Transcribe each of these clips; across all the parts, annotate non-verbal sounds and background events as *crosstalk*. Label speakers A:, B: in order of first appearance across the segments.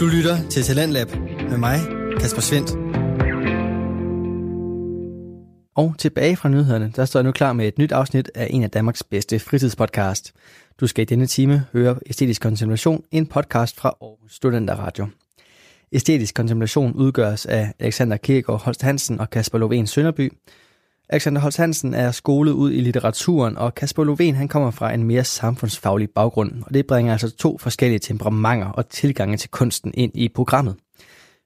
A: Du lytter til Talentlab med mig, Kasper Svendt. Og tilbage fra nyhederne, der står jeg nu klar med et nyt afsnit af en af Danmarks bedste fritidspodcast. Du skal i denne time høre Æstetisk Kontemplation, en podcast fra Aarhus Studenter Radio. Æstetisk Kontemplation udgøres af Alexander Kirkegaard Holst Hansen og Kasper Lovén Sønderby. Alexander Holst Hansen er skolet ud i litteraturen, og Kasper Lovén han kommer fra en mere samfundsfaglig baggrund, og det bringer altså to forskellige temperamenter og tilgange til kunsten ind i programmet.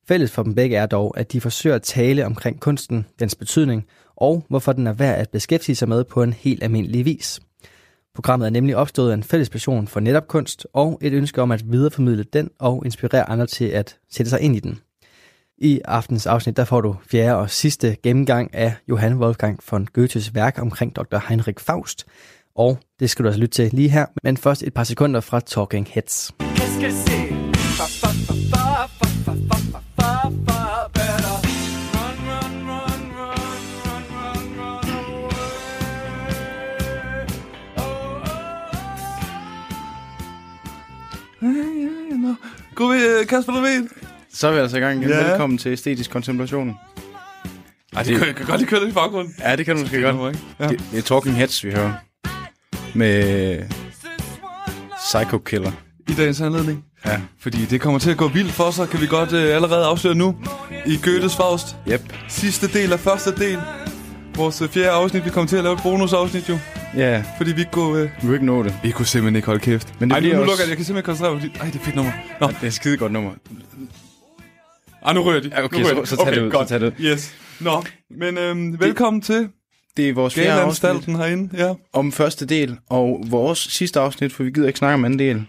A: Fælles for dem begge er dog, at de forsøger at tale omkring kunsten, dens betydning og hvorfor den er værd at beskæftige sig med på en helt almindelig vis. Programmet er nemlig opstået af en fælles passion for netop kunst og et ønske om at videreformidle den og inspirere andre til at sætte sig ind i den. I aftens afsnit der får du fjerde og sidste gennemgang af Johan Wolfgang von Goethes værk omkring Dr. Heinrich Faust. Og det skal du altså lytte til lige her, men først et par sekunder fra Talking Heads.
B: Qu'est-ce que c'est Fa, fa, fa, fa, fa, fa, fa, fa, fa, fa, better. Run, run, run, run, run, run, run away. Oh,
C: God ved, øh, Kasper Levin.
D: Så er vi altså i gang igen.
C: Ja.
D: Ja. Velkommen til Æstetisk Kontemplation.
C: Ej, det kan, jeg kan godt lige køre lidt i baggrunden.
D: Ja, det kan du måske godt.
C: ikke? Ja.
D: Det, det er Talking Heads, vi hører. Med Psycho Killer.
C: I dagens anledning.
D: Ja.
C: Fordi det kommer til at gå vildt for sig, kan vi godt øh, allerede afsløre nu. I Goethes Faust.
D: Yep.
C: Sidste del af første del. Vores øh, fjerde afsnit, vi kommer til at lave et bonusafsnit jo.
D: Ja,
C: Fordi vi ikke kunne... Øh...
D: vi kan ikke nå det.
C: Vi kunne simpelthen ikke holde kæft. Men
D: Men det
C: det Ej, nu,
D: bliver
C: nu
D: også-
C: lukker jeg. Jeg kan simpelthen ikke koncentrere mig. fordi- Ej, det er et fedt nummer. Nå,
D: Det er et skide godt nummer.
C: Ej, nu rører de.
D: Ja, okay,
C: nu rører
D: så-
C: de.
D: så tag det ud, så
C: godt.
D: tag det ud.
C: Yes. Nå, men øhm, velkommen til
D: Det er vores fjerde afsnit
C: Galeanstalten herinde. Ja.
D: om første del, og vores sidste afsnit, for vi gider ikke snakke om anden del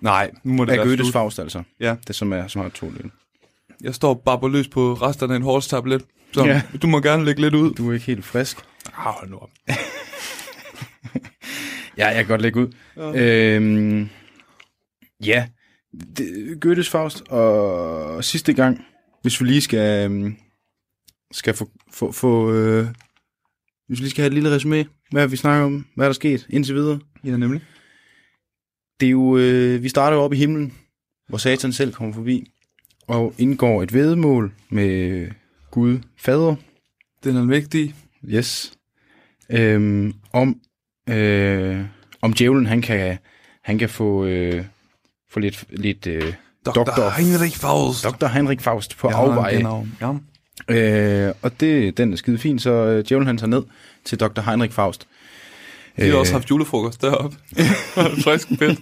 C: Nej, nu må det
D: af
C: være
D: Goethes
C: slut.
D: Faust, altså.
C: Ja.
D: Det som, er, som har to dele.
C: Jeg står bare på løs på resterne af en hårds tablet. Så
D: Ja.
C: du må gerne lægge lidt ud.
D: Du er ikke helt frisk.
C: Ah, hold nu op.
D: *laughs* Ja, jeg kan godt lægge ud. Ja. Øhm, ja, det, Goethes Faust, og sidste gang, hvis vi lige skal, øhm, skal få, få, få øh, hvis vi lige skal have et lille resume, hvad har vi snakker om, hvad er der sket indtil videre.
C: Ja, nemlig.
D: Det er jo, øh, vi starter jo op i himlen, hvor satan selv kommer forbi, og indgår et vedmål med Gud fader,
C: Den er vigtig.
D: Yes. Øhm, om, øh, om djævlen, han kan, han kan få, øh, få lidt, lidt øh,
C: Dr.
D: Doktor.
C: Heinrich Faust.
D: Dr. Heinrich Faust på ja,
C: Ja,
D: afveje.
C: Genau. Ja.
D: Øh, og det, den er skide fin, så øh, djævlen han tager ned til Dr. Heinrich Faust.
C: De har også haft julefrokost deroppe. *laughs* frisk
D: *laughs*
C: fedt.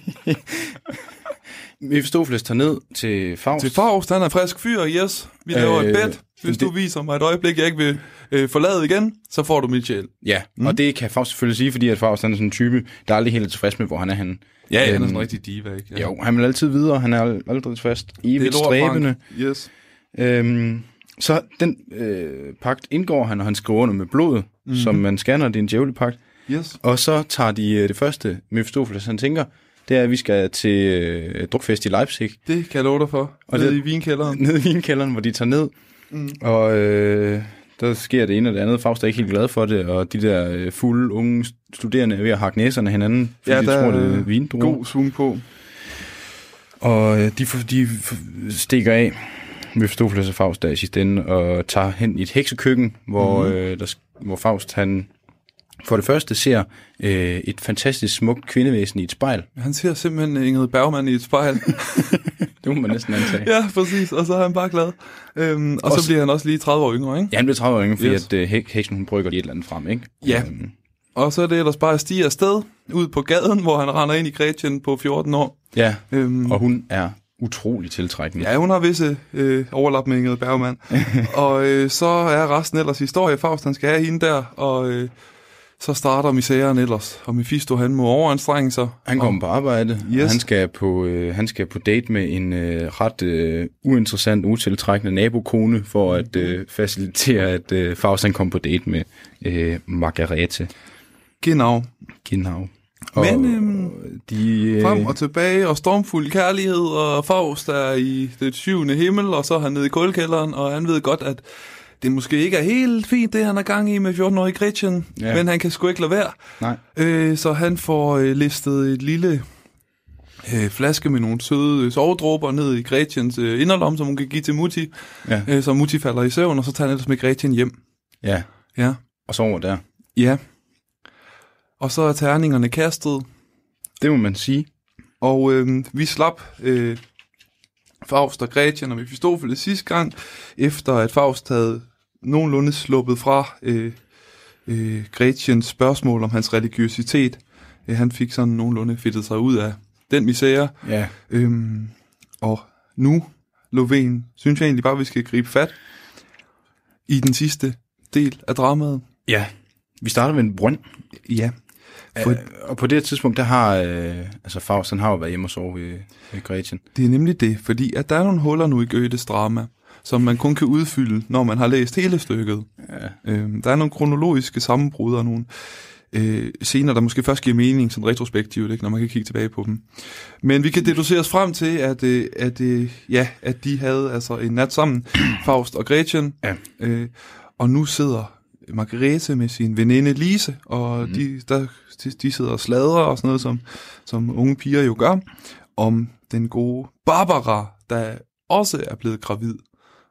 D: Mephistopheles tager ned til Faust.
C: Til Faust, han er frisk fyr, yes. Vi laver
D: Øh,
C: et bed. Hvis
D: det-
C: du viser mig et øjeblik, jeg ikke vil øh, forlade igen, så får du mit sjæl.
D: Ja, mm. og det kan Faust selvfølgelig sige, fordi at Faust han er sådan en type, der aldrig helt er tilfreds med, hvor han er henne.
C: Ja, han er
D: Øhm,
C: sådan en rigtig diva, ikke? Ja.
D: Jo, han vil altid videre, han er ald- aldrig tilfreds,
C: det er
D: evigt stræbende.
C: lortbank. Yes.
D: Øhm, så den øh, pagt indgår han, og han skriver under med blod, mm-hmm. som man scanner, det er en djævlepagt.
C: Yes.
D: Og så tager de øh, det første, Mephistopheles han tænker, det er, at vi skal til øh, drukfest i Leipzig, *laughs*
C: Det kan jeg love dig for. Og Nede det...
D: det-
C: i vinkælderen.
D: nede i vinkælderen, hvor de tager ned. Mm. Og øh, der sker det ene og det andet. Faust er ikke helt glad for det, og de der øh, fulde unge studerende er ved at hakke næserne af hinanden, fordi ja,
C: Ja,
D: de
C: der
D: tror, det er
C: er
D: vindruer.
C: God svung på.
D: Og øh, de, f- de f- stikker af Mephistopheles og Faust der i sidste ende, og tager hen i et heksekøkken, hvor, mm. øh, der, sk- hvor Faust han for det første ser øh, et fantastisk smukt kvindevæsen i et spejl.
C: Han ser simpelthen Ingrid Bergman i et spejl. *laughs*
D: Det må man næsten antage. ja.
C: Ja, præcis. Og så er han bare glad. Øhm, og, og så
D: Også-
C: bliver han også lige 30 år yngre, ikke?
D: *laughs* ja, han bliver 30 år yngre, fordi
C: Yes.
D: yes. at, øh, hek- heksen hun brygger lige et eller andet frem, ikke?
C: Ja.
D: Øhm,
C: Og så er det ellers bare at stige afsted ud på gaden, hvor han render ind i Gretchen på 14 år.
D: ja.
C: Øhm,
D: Og
C: og...
D: hun er utrolig tiltrækkende.
C: Ja, hun har visse øh, overlap med Ingrid
D: *laughs*
C: Bergman. og øh, så er resten ellers historie. Faust, han skal have hende der, og øh, så starter misæren ellers. Og Mephisto, han må overanstrenge sig.
D: Han kommer på arbejde, yes.
C: Yes.
D: og han skal på, øh, han skal på date med en øh, ret øh, uinteressant, utiltrækkende nabokone, for at øh, facilitere, at øh, Faust han kom på date med øh, Margarete
C: Genau.
D: Genau.
C: Men, øhm,
D: de, øh,
C: Frem og tilbage, og stormfuld kærlighed, og Faust er i det syvende himmel, og så er han nede i kulkælderen, og han ved godt, at det måske ikke er helt fint, det han er gang i med 14-årige Gretchen,
D: Ja.
C: men han kan sgu ikke lade være.
D: Nej.
C: Øh, så han får øh, listet et lille øh, flaske med nogle søde øh, sovedråber ned i Gretchens øh, inderlom, som hun kan give til Mutti,
D: Ja.
C: øh, så Mutti falder i søvn, og så tager han ellers med Gretchen hjem.
D: Ja,
C: Ja.
D: og så over der.
C: Ja. Og så er terningerne kastet,
D: Det må man sige.
C: og øh, vi slap øh, Faust og Gretchen og Mephistopheles sidste gang, efter at Faust havde nogenlunde sluppet fra øh, øh, Gretchens spørgsmål om hans religiøsitet. Øh, han fik sådan nogenlunde fedtet sig ud af den misære,
D: Ja.
C: Øhm, og nu, Lovén, synes jeg egentlig bare, at vi skal gribe fat i den sidste del af dramaet.
D: Ja. Vi starter med en brønd.
C: Ja. For-
D: For... Og på det her tidspunkt, der har... Øh, altså Faust, han har jo været hjemme og sove i, i Gretchen.
C: Det er nemlig det, fordi at der er nogle huller nu i Goethes drama, som man kun kan udfylde, når man har læst hele stykket. Ja. Øhm, der er nogle kronologiske sammenbrud og nogle øh, scener, der måske først giver mening sådan retrospektivt, ikke, når man kan kigge tilbage på dem. Men vi kan deducere os frem til, at, øh, at, øh, ja, at de havde altså en nat sammen, *clears throat* Faust og Gretchen,
D: Ja.
C: øh, og nu sidder Margrethe med sin veninde Lise, og
D: Mhm.
C: mm. de, der, de, de sidder og sladrer og sådan noget, som, som unge piger jo gør, om den gode Barbara, der også er blevet gravid.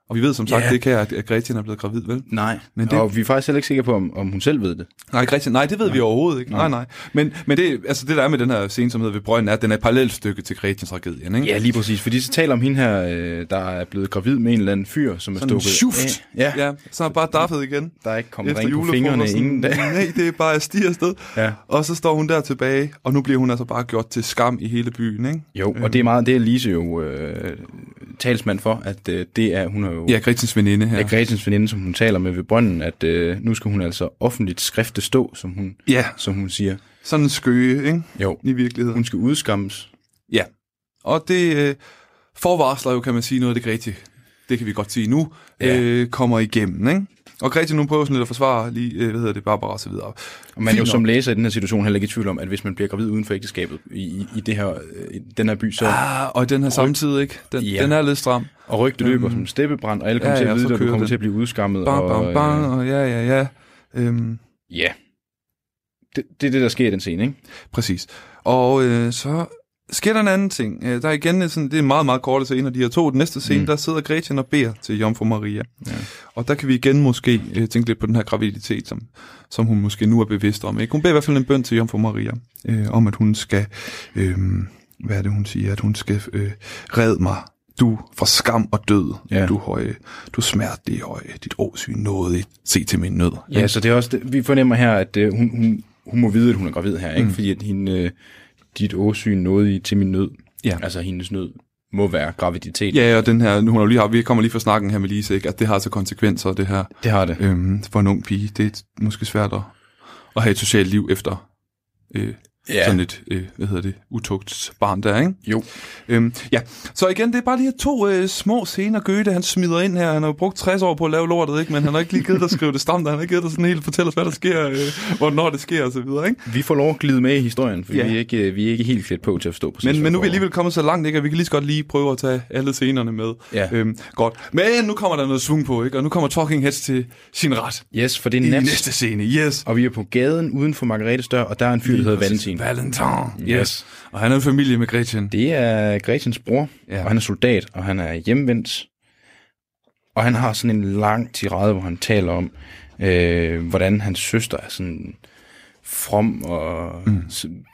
C: Og vi ved som sagt
D: Ja.
C: yeah. ikke her, at at Gretchen er blevet gravid, vel?
D: Nej,
C: Men
D: men
C: det-
D: det... og vi er faktisk heller ikke sikre på, om, om hun selv ved det.
C: Nej, Gretchen, nej, det ved nej. vi overhovedet ikke. Nej, nej. Men, men det, altså det der er med den her scene, som hedder Ved Brønden, er, at den er et parallelstykke til Gretchens tragedien, ikke?
D: Ja, lige præcis. Fordi så taler om hende her, øh, der er blevet gravid med en eller anden fyr, som er
C: Sådan en
D: stukket.
C: sjuft.
D: Ja, ja,
C: Ja, så er han bare daffet igen.
D: der er ikke kommet
C: Efter
D: ring på
C: julefrokosten.
D: fingrene inden
C: *laughs*
D: da.
C: Nej, det er bare at stige afsted.
D: Ja.
C: Og så står hun der tilbage, og nu bliver hun altså bare gjort til skam i hele byen, ikke?
D: Jo, og det er meget, det er Lise jo øh, talsmand for, at øh, det er, hun er jo...
C: Ja, Gretchens veninde her.
D: Ja. Gretchens veninde, som hun taler med ved brønden, at øh, nu skal hun altså offentligt skrifte stå, som hun,
C: Ja,
D: som hun siger.
C: sådan en skøge, ikke?
D: Jo,
C: I virkeligheden.
D: hun skal udskammes.
C: Ja, og det øh, forvarsler jo, kan man sige, noget af det Grete, det kan vi godt sige nu, ja.
D: Ja.
C: øh, kommer igennem, ikke? Og Grete nu prøver sådan lidt at forsvare lige, øh, hvad hedder det, Barbara og så videre.
D: Og man er jo
C: Fint
D: som
C: nok.
D: læser i den her situation heller ikke i tvivl om, at hvis man bliver gravid uden for ægteskabet i, i, i, det her, øh, i den her by, så...
C: Ah, og i den her samtidig, ikke? Den, ja.
D: Ja.
C: den er lidt stram.
D: Og rygte løber som en steppebrand, og alle kommer
C: Mm. ja,
D: ja,
C: ja,
D: til at
C: så
D: vide, at du
C: kører
D: kommer
C: den.
D: til at blive udskammet.
C: Bang,
D: og,
C: bang,
D: øh,
C: bang, og ja, ja, ja. Øhm,
D: Ja. Det, det er det, der sker i den scene, ikke?
C: Præcis. Og øh, så sker der en anden ting. Øh, der er igen et sådan, det er en meget, meget korte scene, og de her to. Den næste scene, mm.
D: Mm.
C: der sidder Gretchen og beder til Jomfru Maria. Ja. Og der kan vi igen måske øh, tænke lidt på den her graviditet, som, som hun måske nu er bevidst om. Ikke? Hun beder i hvert fald en bøn til Jomfru Maria, øh, om at hun skal, øh, hvad er det hun siger, at hun skal øh, red mig, du fra skam og død, ja.
D: Ja.
C: du høje, du smertelige høje, dit åsyn nåde, se til min nød.
D: Ja, så Altså, det er også det, vi fornemmer her, at øh, hun, hun, hun må vide, at hun er gravid her, ikke? Mm. Fordi at hende, øh, dit åsyn nåede i til min nød.
C: Ja.
D: Altså hendes nød må være graviditet.
C: Ja, og den her, nu hun har jo lige har, vi kommer lige fra snakken her med Lise, ikke? at det har altså konsekvenser, det her.
D: Det har det.
C: øhm, for en ung pige. Det er måske svært at, at have et socialt liv efter øh, ja.
D: Ja.
C: sådan et, øh, hvad hedder det, utugt barn der, ikke?
D: Jo.
C: Øhm, ja, så igen, det er bare lige to øh, små scener, Goethe, han smider ind her. Han har jo brugt 60 år på at lave lortet, ikke? Men han har ikke lige givet dig at skrive det stramt, og han har ikke givet dig sådan helt fortælle os, hvad der sker, øh, hvornår det sker, og så videre, ikke?
D: Vi får lov at glide med i historien, for
C: Ja.
D: ja. vi, er ikke, øh, vi er ikke helt klædt på til at forstå præcis.
C: Men, men nu er vi
D: hvad der
C: alligevel kommet så langt, ikke? At vi kan lige så godt lige prøve at tage alle scenerne med.
D: Ja.
C: Øhm, godt. Men nu kommer der noget svung på, ikke? Og nu kommer Talking Heads til sin ret.
D: foregår. Yes, for det
C: I
D: er nat,
C: næste scene, yes.
D: og vi er på gaden uden for Margrethes dør, og der er en fyr, der hedder Valentin.
C: Valentin. Yes.
D: Yes.
C: yes. Og han er en familie med Gretchen.
D: Det er Gretchens bror,
C: Ja.
D: ja. og han er soldat, og han er hjemvendt. Og han har sådan en lang tirade, hvor han taler om, øh, hvordan hans søster er sådan from, og mm.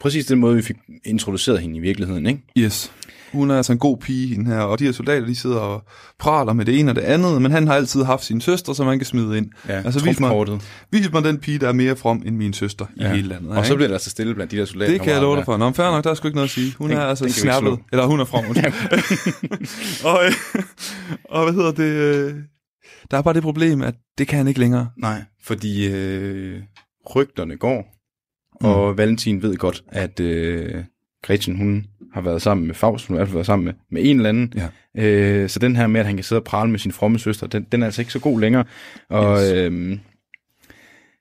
D: præcis den måde, vi fik introduceret hende i virkeligheden, ikke?
C: Yes. Hun er altså en god pige, hende her, og de her soldater, de sidder og praler med det ene og det andet, men han har altid haft sin søster, som han kan smide ind. altså, vis mig,
D: trumfkortet.
C: vis mig den pige, der er mere from end min søster ja.
D: Ja.
C: i hele landet.
D: Og
C: ikke?
D: så bliver der altså stille blandt de der soldater.
C: det kan jeg love dig for. Nå, men fair nok, der er sgu ikke noget at sige. Hun
D: Den-
C: er altså
D: den kan vi ikke
C: snappet.
D: slå.
C: Eller hun er from. undskyld.
D: *laughs*
C: og, øh, og hvad hedder det? øh, Der er bare det problem, at det kan han ikke længere.
D: Nej, fordi øh, rygterne går, og Valentin ved godt, at øh, Gretchen, hun har været sammen med Faust, hun har i hvert fald været sammen med, med en eller anden. Ja. Øh, så den her med, at han kan sidde og prale med sin fromme søster, den, den er altså ikke så god længere. Og
C: Yes.
D: yes. øh,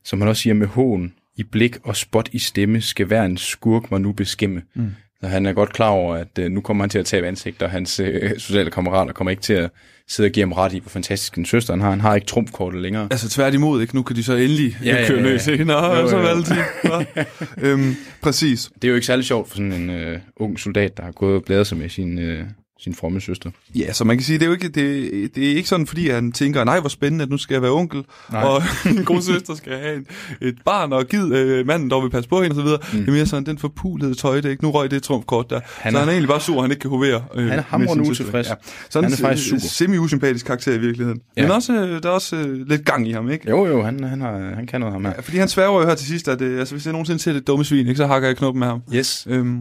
D: som man også siger, med hån i blik og spot i stemme, skal hver en skurk mig nu beskæmme. Mm. Og han er godt klar over, at øh, nu kommer han til at tabe ansigt, og hans øh, sociale kammerater kommer ikke til at sidde og give ham ret i, hvor fantastisk en søster han har. Han har ikke trumfkortet længere.
C: Altså tværtimod, ikke? Nu kan de så endelig
D: Ja,
C: ja,
D: ja,
C: køre
D: ja, ja.
C: løs hende, og
D: Jo,
C: og så
D: jo, jo.
C: valgte de.
D: *laughs*
C: Hva? øhm, præcis.
D: Det er jo ikke særlig sjovt for sådan en øh, ung soldat, der har gået og blæret sig med sin, øh, sin fromme søster.
C: Ja, så man kan sige, det er jo ikke, det, det er ikke sådan, fordi han tænker, nej, hvor spændende, at nu skal jeg være onkel, nej.
D: Nej.
C: og *laughs* min gode søster skal have en, et barn, og gid øh, manden dog vil passe på hende, og så videre. Mm. Det er mere sådan, den forpulede tøjdæk, nu røg det trumfkort der. Han
D: Han
C: så
D: er-
C: han er egentlig bare sur, at han ikke kan hovere. Øh,
D: er
C: med
D: hamrende
C: sin søster.
D: utilfreds.
C: Sådan
D: Han er faktisk
C: en øh,
D: sur.
C: semi-usympatisk karakter i virkeligheden. Ja.
D: Ja.
C: Men også, øh, der er også øh, lidt gang i ham, ikke?
D: Jo, jo, han, han, har, han kan noget ham her.
C: Ja, fordi han sværger jo her til sidst, at øh, altså, hvis jeg nogensinde ser det dumme svin, ikke, så hakker jeg knoppen med ham.
D: Yes.
C: Øhm,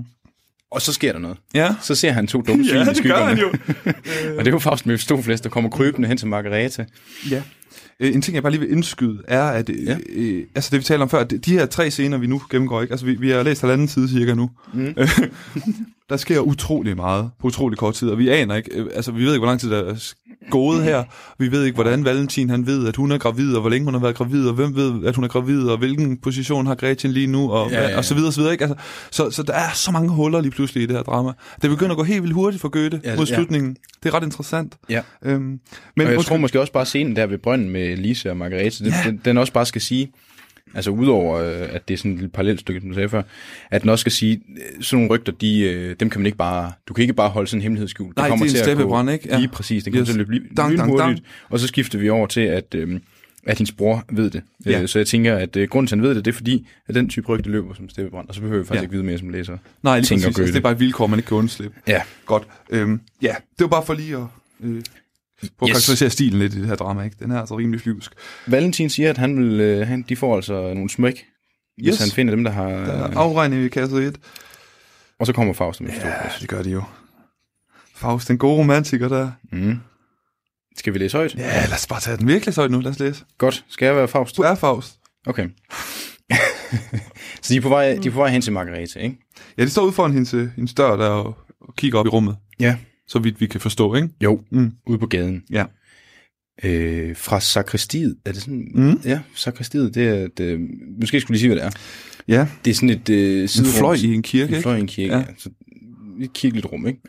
D: Og så sker der noget.
C: ja.
D: Så ser han to dumme
C: *laughs*
D: svin
C: Ja,
D: i
C: det gør
D: skyggerne.
C: han jo.
D: Og det er jo Faust Mephistopheles, der kommer krybende hen til Margareta.
C: Ja. Øh, En ting, jeg bare lige vil indskyde, er, at ja.
D: Ja.
C: øh, altså det, vi taler om før, det- de her tre scener, vi nu gennemgår, ikke? Altså, vi, vi har læst halvanden side cirka nu. Mm. *laughs* der sker utrolig meget på utrolig kort tid, og vi aner ikke, øh, altså, vi ved ikke, hvor lang tid der er s- gået her. Vi ved ikke, hvordan Valentin, han ved, at hun er gravid, og hvor længe hun har været gravid, og hvem ved, at hun er gravid, og hvilken position har Gretchen lige nu, og, ja,
D: Ja,
C: ja,
D: ja,
C: ja.
D: ja.
C: og så videre, så videre, ikke? Altså, så, så der er så mange huller lige pludselig i det her drama. Det begynder at gå helt vildt hurtigt for Goethe
D: Ja,
C: ja, mod
D: ja.
C: slutningen. Det er ret interessant.
D: Ja.
C: Øhm, men
D: Men og jeg
C: undskyld.
D: tror måske også bare scenen der ved brønden med Lise og Margarete, den,
C: Ja.
D: ja. den, den også bare skal sige, altså udover øh, at det er sådan et lille parallelt stykke, som du sagde før, at den også skal sige, øh, sådan nogle rygter, de, øh, dem kan man ikke bare, du kan ikke bare holde sådan en hemmelighed skjult.
C: Nej, det er en
D: til at gå-
C: steppebrand, ikke? Ja.
D: Lige præcis, den kommer
C: Yes.
D: yes. til at løbe lige,
C: Dang,
D: dang,
C: dang,
D: dang,
C: dang.
D: og så skifter vi over til, at, øh, at hendes bror ved det.
C: Ja.
D: Ja. Øh, så jeg tænker, at øh, grunden til, at han ved det, det er fordi, at den type rygte løber som steppebrand, og så behøver vi faktisk
C: Ja.
D: ja. ikke vide mere som læser.
C: Nej, lige præcis.
D: tænker
C: Altså, det
D: Goethe.
C: er bare et vilkår, man ikke kan undslippe.
D: Ja,
C: Godt. Øhm, ja, det var bare for lige at øh, prøve yes. at
D: Yes.
C: karakterisere stilen lidt i det her drama. Ikke? Den er altså rimelig flyvsk.
D: Valentin siger, at han vil, øh, han, de får altså nogle smæk, yes.
C: Yes.
D: hvis han finder dem, der har...
C: Der er afregning i kasse 1.
D: Og så kommer Faust med ja.
C: Ja, det gør de jo. Faust, den gode romantiker der.
D: Mm. Skal vi læse højt?
C: Ja, lad os bare tage den virkelig så nu. Lad os læse.
D: Godt. Skal jeg være Faust?
C: Du er Faust.
D: Okay. *laughs* så de er, på vej, de er på vej hen til Margarete, ikke?
C: Ja, de står ude foran hendes, øh, hendes dør der og, og kigger op i rummet.
D: Ja.
C: Så vidt vi kan forstå, ikke?
D: Jo,
C: Mm.
D: mm. ude på gaden.
C: Ja.
D: Øh, fra sakristiet, er det sådan?
C: Mm.
D: Ja, sakristiet, det er et, øh, måske skulle jeg lige sige, hvad det er.
C: Ja,
D: Det er sådan et øh,
C: en
D: siderum.
C: fløj i en kirke,
D: En
C: ikke?
D: fløj i en kirke,
C: Ja.
D: ja. ja. Så et kirkeligt rum, ikke?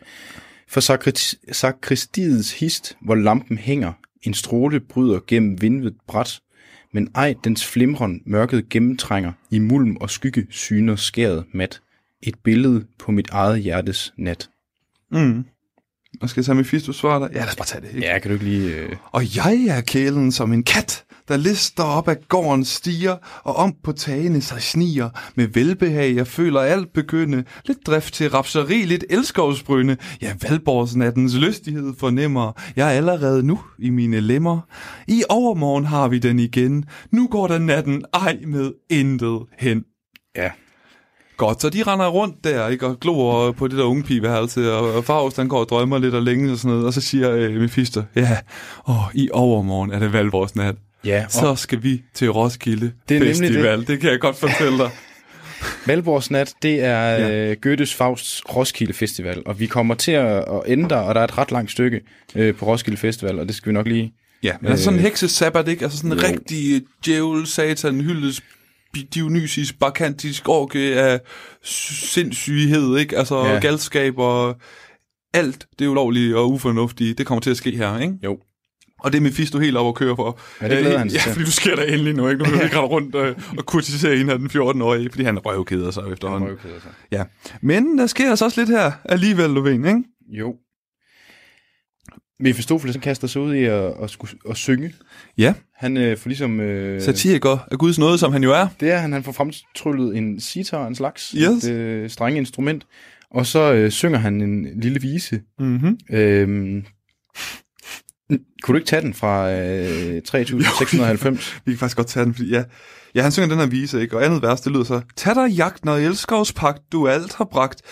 D: For sakrit- sakristiets hist, hvor lampen hænger, en stråle bryder gennem vinduet bræt, men ej, dens flimren mørket gennemtrænger, i mulm og skygge syner skæret mat. Et billede på mit eget hjertes nat.
C: Mm. Og skal jeg tage Mephistos svar der? Ja, lad os bare tage det. Ikke?
D: Ja, kan du ikke lige... Øh...
C: Og jeg er kælen som en kat, der lister op af gårdens stiger, og om på tagene sig sniger. Med velbehag, jeg føler alt begynde, lidt drift til rapseri, lidt elskovsbrynde. Ja, Valborgsnattens lystighed fornemmer, jeg er allerede nu i mine lemmer. I overmorgen har vi den igen, nu går der natten ej med intet hen.
D: Ja.
C: Godt, så de render rundt der, ikke, og glor på det der unge pigeværelse, og og Faust, han går og drømmer lidt og længes og sådan noget, og så siger øh, Mephisto, ja, åh, i overmorgen er det valgårdsnat,
D: Ja, og
C: så skal vi til Roskilde
D: Det er nemlig
C: Festival, det. det kan jeg godt fortælle
D: *laughs*
C: dig.
D: Valborgsnat, det er
C: Ja.
D: ja. øh, Goethes Fausts Roskilde Festival, og vi kommer til at, at ændre, og der er et ret langt stykke øh, på Roskilde Festival, og det skal vi nok lige
C: Ja, men altså sådan en heksesabbat, ikke? Altså sådan en
D: Øh. Jo.
C: rigtig øh, djævel, satan, hyldes, bi- dionysis, barkantisk orke af s- sindssyghed, ikke? Altså ja.
D: Ja.
C: galskab og alt det ulovlige og ufornuftige, det kommer til at ske her, ikke?
D: Jo.
C: Og det er Mephisto helt op at køre for. Øh,
D: Ja, det glæder han sig
C: Ja,
D: til.
C: fordi du sker der endelig nu, ikke? Nu kan du ikke rende rundt øh, og kurtisere en af den 14-årige, fordi han røvkeder sig efterhånden.
D: prøvekede sig.
C: Ja. Men der sker altså også lidt her alligevel, Lovén, ikke?
D: Jo. Mephistopheles han kaster sig ud i at, at, skulle, at synge.
C: Ja.
D: Han øh, får ligesom... Øh,
C: Satiriker af Guds nåde, som han jo er.
D: det er han, han får fremtryllet en sitar, en slags
C: Yes.
D: et, øh, strenge instrument. Og så øh, synger han en lille vise.
C: Mm-hmm.
D: Øhm, kunne du ikke tage den fra øh, 3690?
C: Vi kan faktisk godt tage den, fordi ja, ja han synger den her vise, ikke? Og andet vers, det lyder så, Tag dig jagt, når elskovspagt du alt har bragt,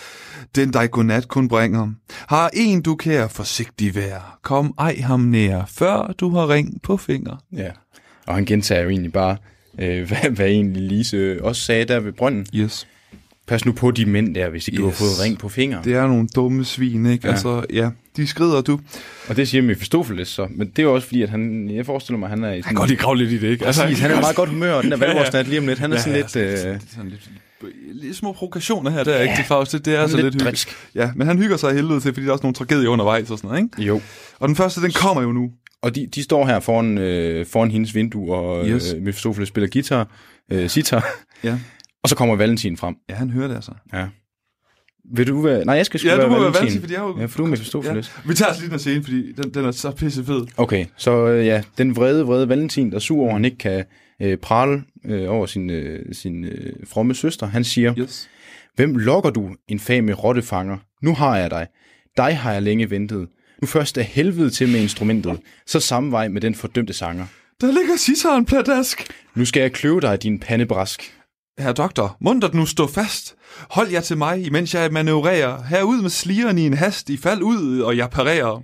C: den dig godnat kun bringer. Har en du kær, forsigtig vær, kom ej ham nær, før du har ring på finger.
D: *laughs* ja. Og han gentager jo egentlig bare, øh, *laughs* hvad, hvad egentlig Lise også sagde der ved brønden.
C: Yes.
D: Pas nu på de mænd der, hvis ikke yes. du har
C: Yes.
D: fået ring på fingeren.
C: Det er nogle dumme svin, ikke? Ja.
D: Ja.
C: Altså, ja, de skrider, du.
D: Og det siger Mephistopheles så, men det er jo også fordi, at han, jeg forestiller mig, han er i Altså, sådan...
C: lige grave lidt i det, ikke? Altså, *laughs*
D: *laughs* Præcis, han er i meget godt humør, og den er valgårdsnat lige om lidt. Han er sådan lidt... Øh,
C: sådan lidt lidt små provokationer her, der, ja, ikke til Faust? Det, det er så lidt, lidt hyggeligt.
D: drilsk.
C: Ja, men han hygger sig af helvede til, fordi der er også nogle tragedier undervejs og sådan noget, ikke?
D: Jo.
C: Og den første, den kommer jo nu.
D: Og de, de står her foran, øh, foran hendes vindue, og
C: Yes.
D: yes. øh, Mephistopheles spiller guitar, øh, sitar, *laughs*
C: Ja.
D: og så kommer Valentin frem.
C: Ja, han hører det altså.
D: Ja. Vil du være... Nej, jeg skal sgu
C: Ja,
D: være
C: du må være
D: Valentin.
C: vanskelig, fordi jeg er jo...
D: Ja, for du er Mephistopheles. Ja.
C: Vi tager os lige den her scene, fordi den, den er så pisse fed.
D: Okay, så øh, ja, den vrede, vrede Valentin, der er sur over, at han ikke kan øh, prale øh, over sin, øh, sin øh, fromme søster, han siger,
C: Yes.
D: Hvem lokker du, infame rottefanger? Nu har jeg dig. Dig har jeg længe ventet. Nu først er helvede til med instrumentet, så samme vej med den fordømte sanger.
C: Der ligger sitaren pladask.
D: Nu skal jeg kløve dig, din pandebrask.
C: Herre doktor, mundret nu stå fast. Hold jer til mig, imens jeg manøvrerer. Herud med sligeren i en hast, i fald ud, og jeg parerer.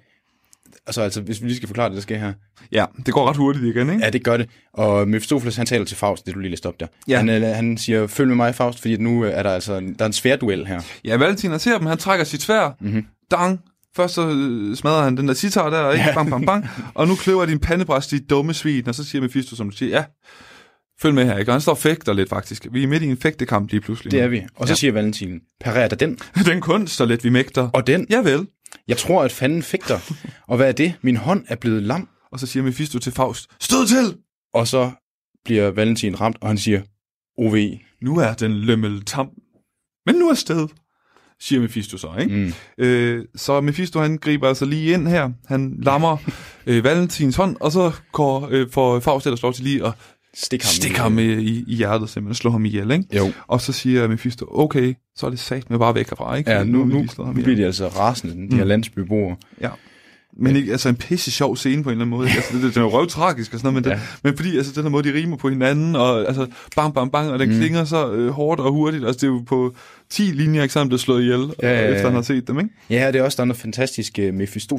D: Altså, altså, hvis vi lige skal forklare det, der sker her.
C: Ja, det går ret hurtigt igen, ikke?
D: Ja, det gør det. Og Mephistopheles, han taler til Faust, det du lige læste op der.
C: Ja.
D: Ja. Han, øh, han siger, følg med mig, Faust, fordi at nu øh, er der altså en, der er en svær duel her.
C: Ja, Valentin han ser dem, han trækker sit svær.
D: Mhm.
C: Mm-hmm. Dang. Først så øh, smadrer han den der sitar der, ikke? Bang, bang, bang. og nu kløver din pandebræst, dit dumme svin. Og så siger Mephisto, som du siger, ja, følg med her, ikke? Og han står og fægter lidt, faktisk. Vi er midt i en fægtekamp lige pludselig.
D: Det er vi. Og så ja. siger Valentin, parer der den,
C: *laughs* Den kunst og lidt, vi mægter.
D: og den. Ja.
C: Ja vel.
D: Jeg tror, at fanden fægter. og hvad er det? Min hånd er blevet lam.
C: Og så siger Mephisto til Faust, stød til!
D: Og så bliver Valentin ramt, og han siger, OV,
C: Nu er den lømmel tam. Men nu er sted, siger Mephisto så, ikke?
D: Mm.
C: Øh, så Mephisto, han griber altså lige ind her. Han
D: *laughs*
C: lammer øh, Valentins hånd, og så går, øh, får Faust ellers lov til lige at
D: Stik ham.
C: stikke ham øh, i, i hjertet, simpelthen slå ham ihjel, ikke?
D: Jo.
C: Og så siger Mephisto, okay, så er det sat med bare væk herfra, ikke?
D: Ja,
C: Fordi
D: nu,
C: har vi Mm.
D: nu,
C: lige slået ham
D: nu
C: ihjel.
D: bliver de altså rasende, de her landsbyboere.
C: Ja. Men ikke, altså en pisse sjov scene på en eller anden måde. altså, det, det, det er jo røvtragisk og sådan noget, men, ja.
D: Ja.
C: det, men fordi altså, den her måde, de rimer på hinanden, og altså bang, bang, bang, og den mm. klinger så øh, hårdt og hurtigt. Altså det er jo på 10 linjer, ikke sammen, det er slået ihjel, ja,
D: Ja, ja,
C: ja,
D: ja.
C: efter han har set dem, ikke?
D: Ja, og det er også der er noget fantastisk uh,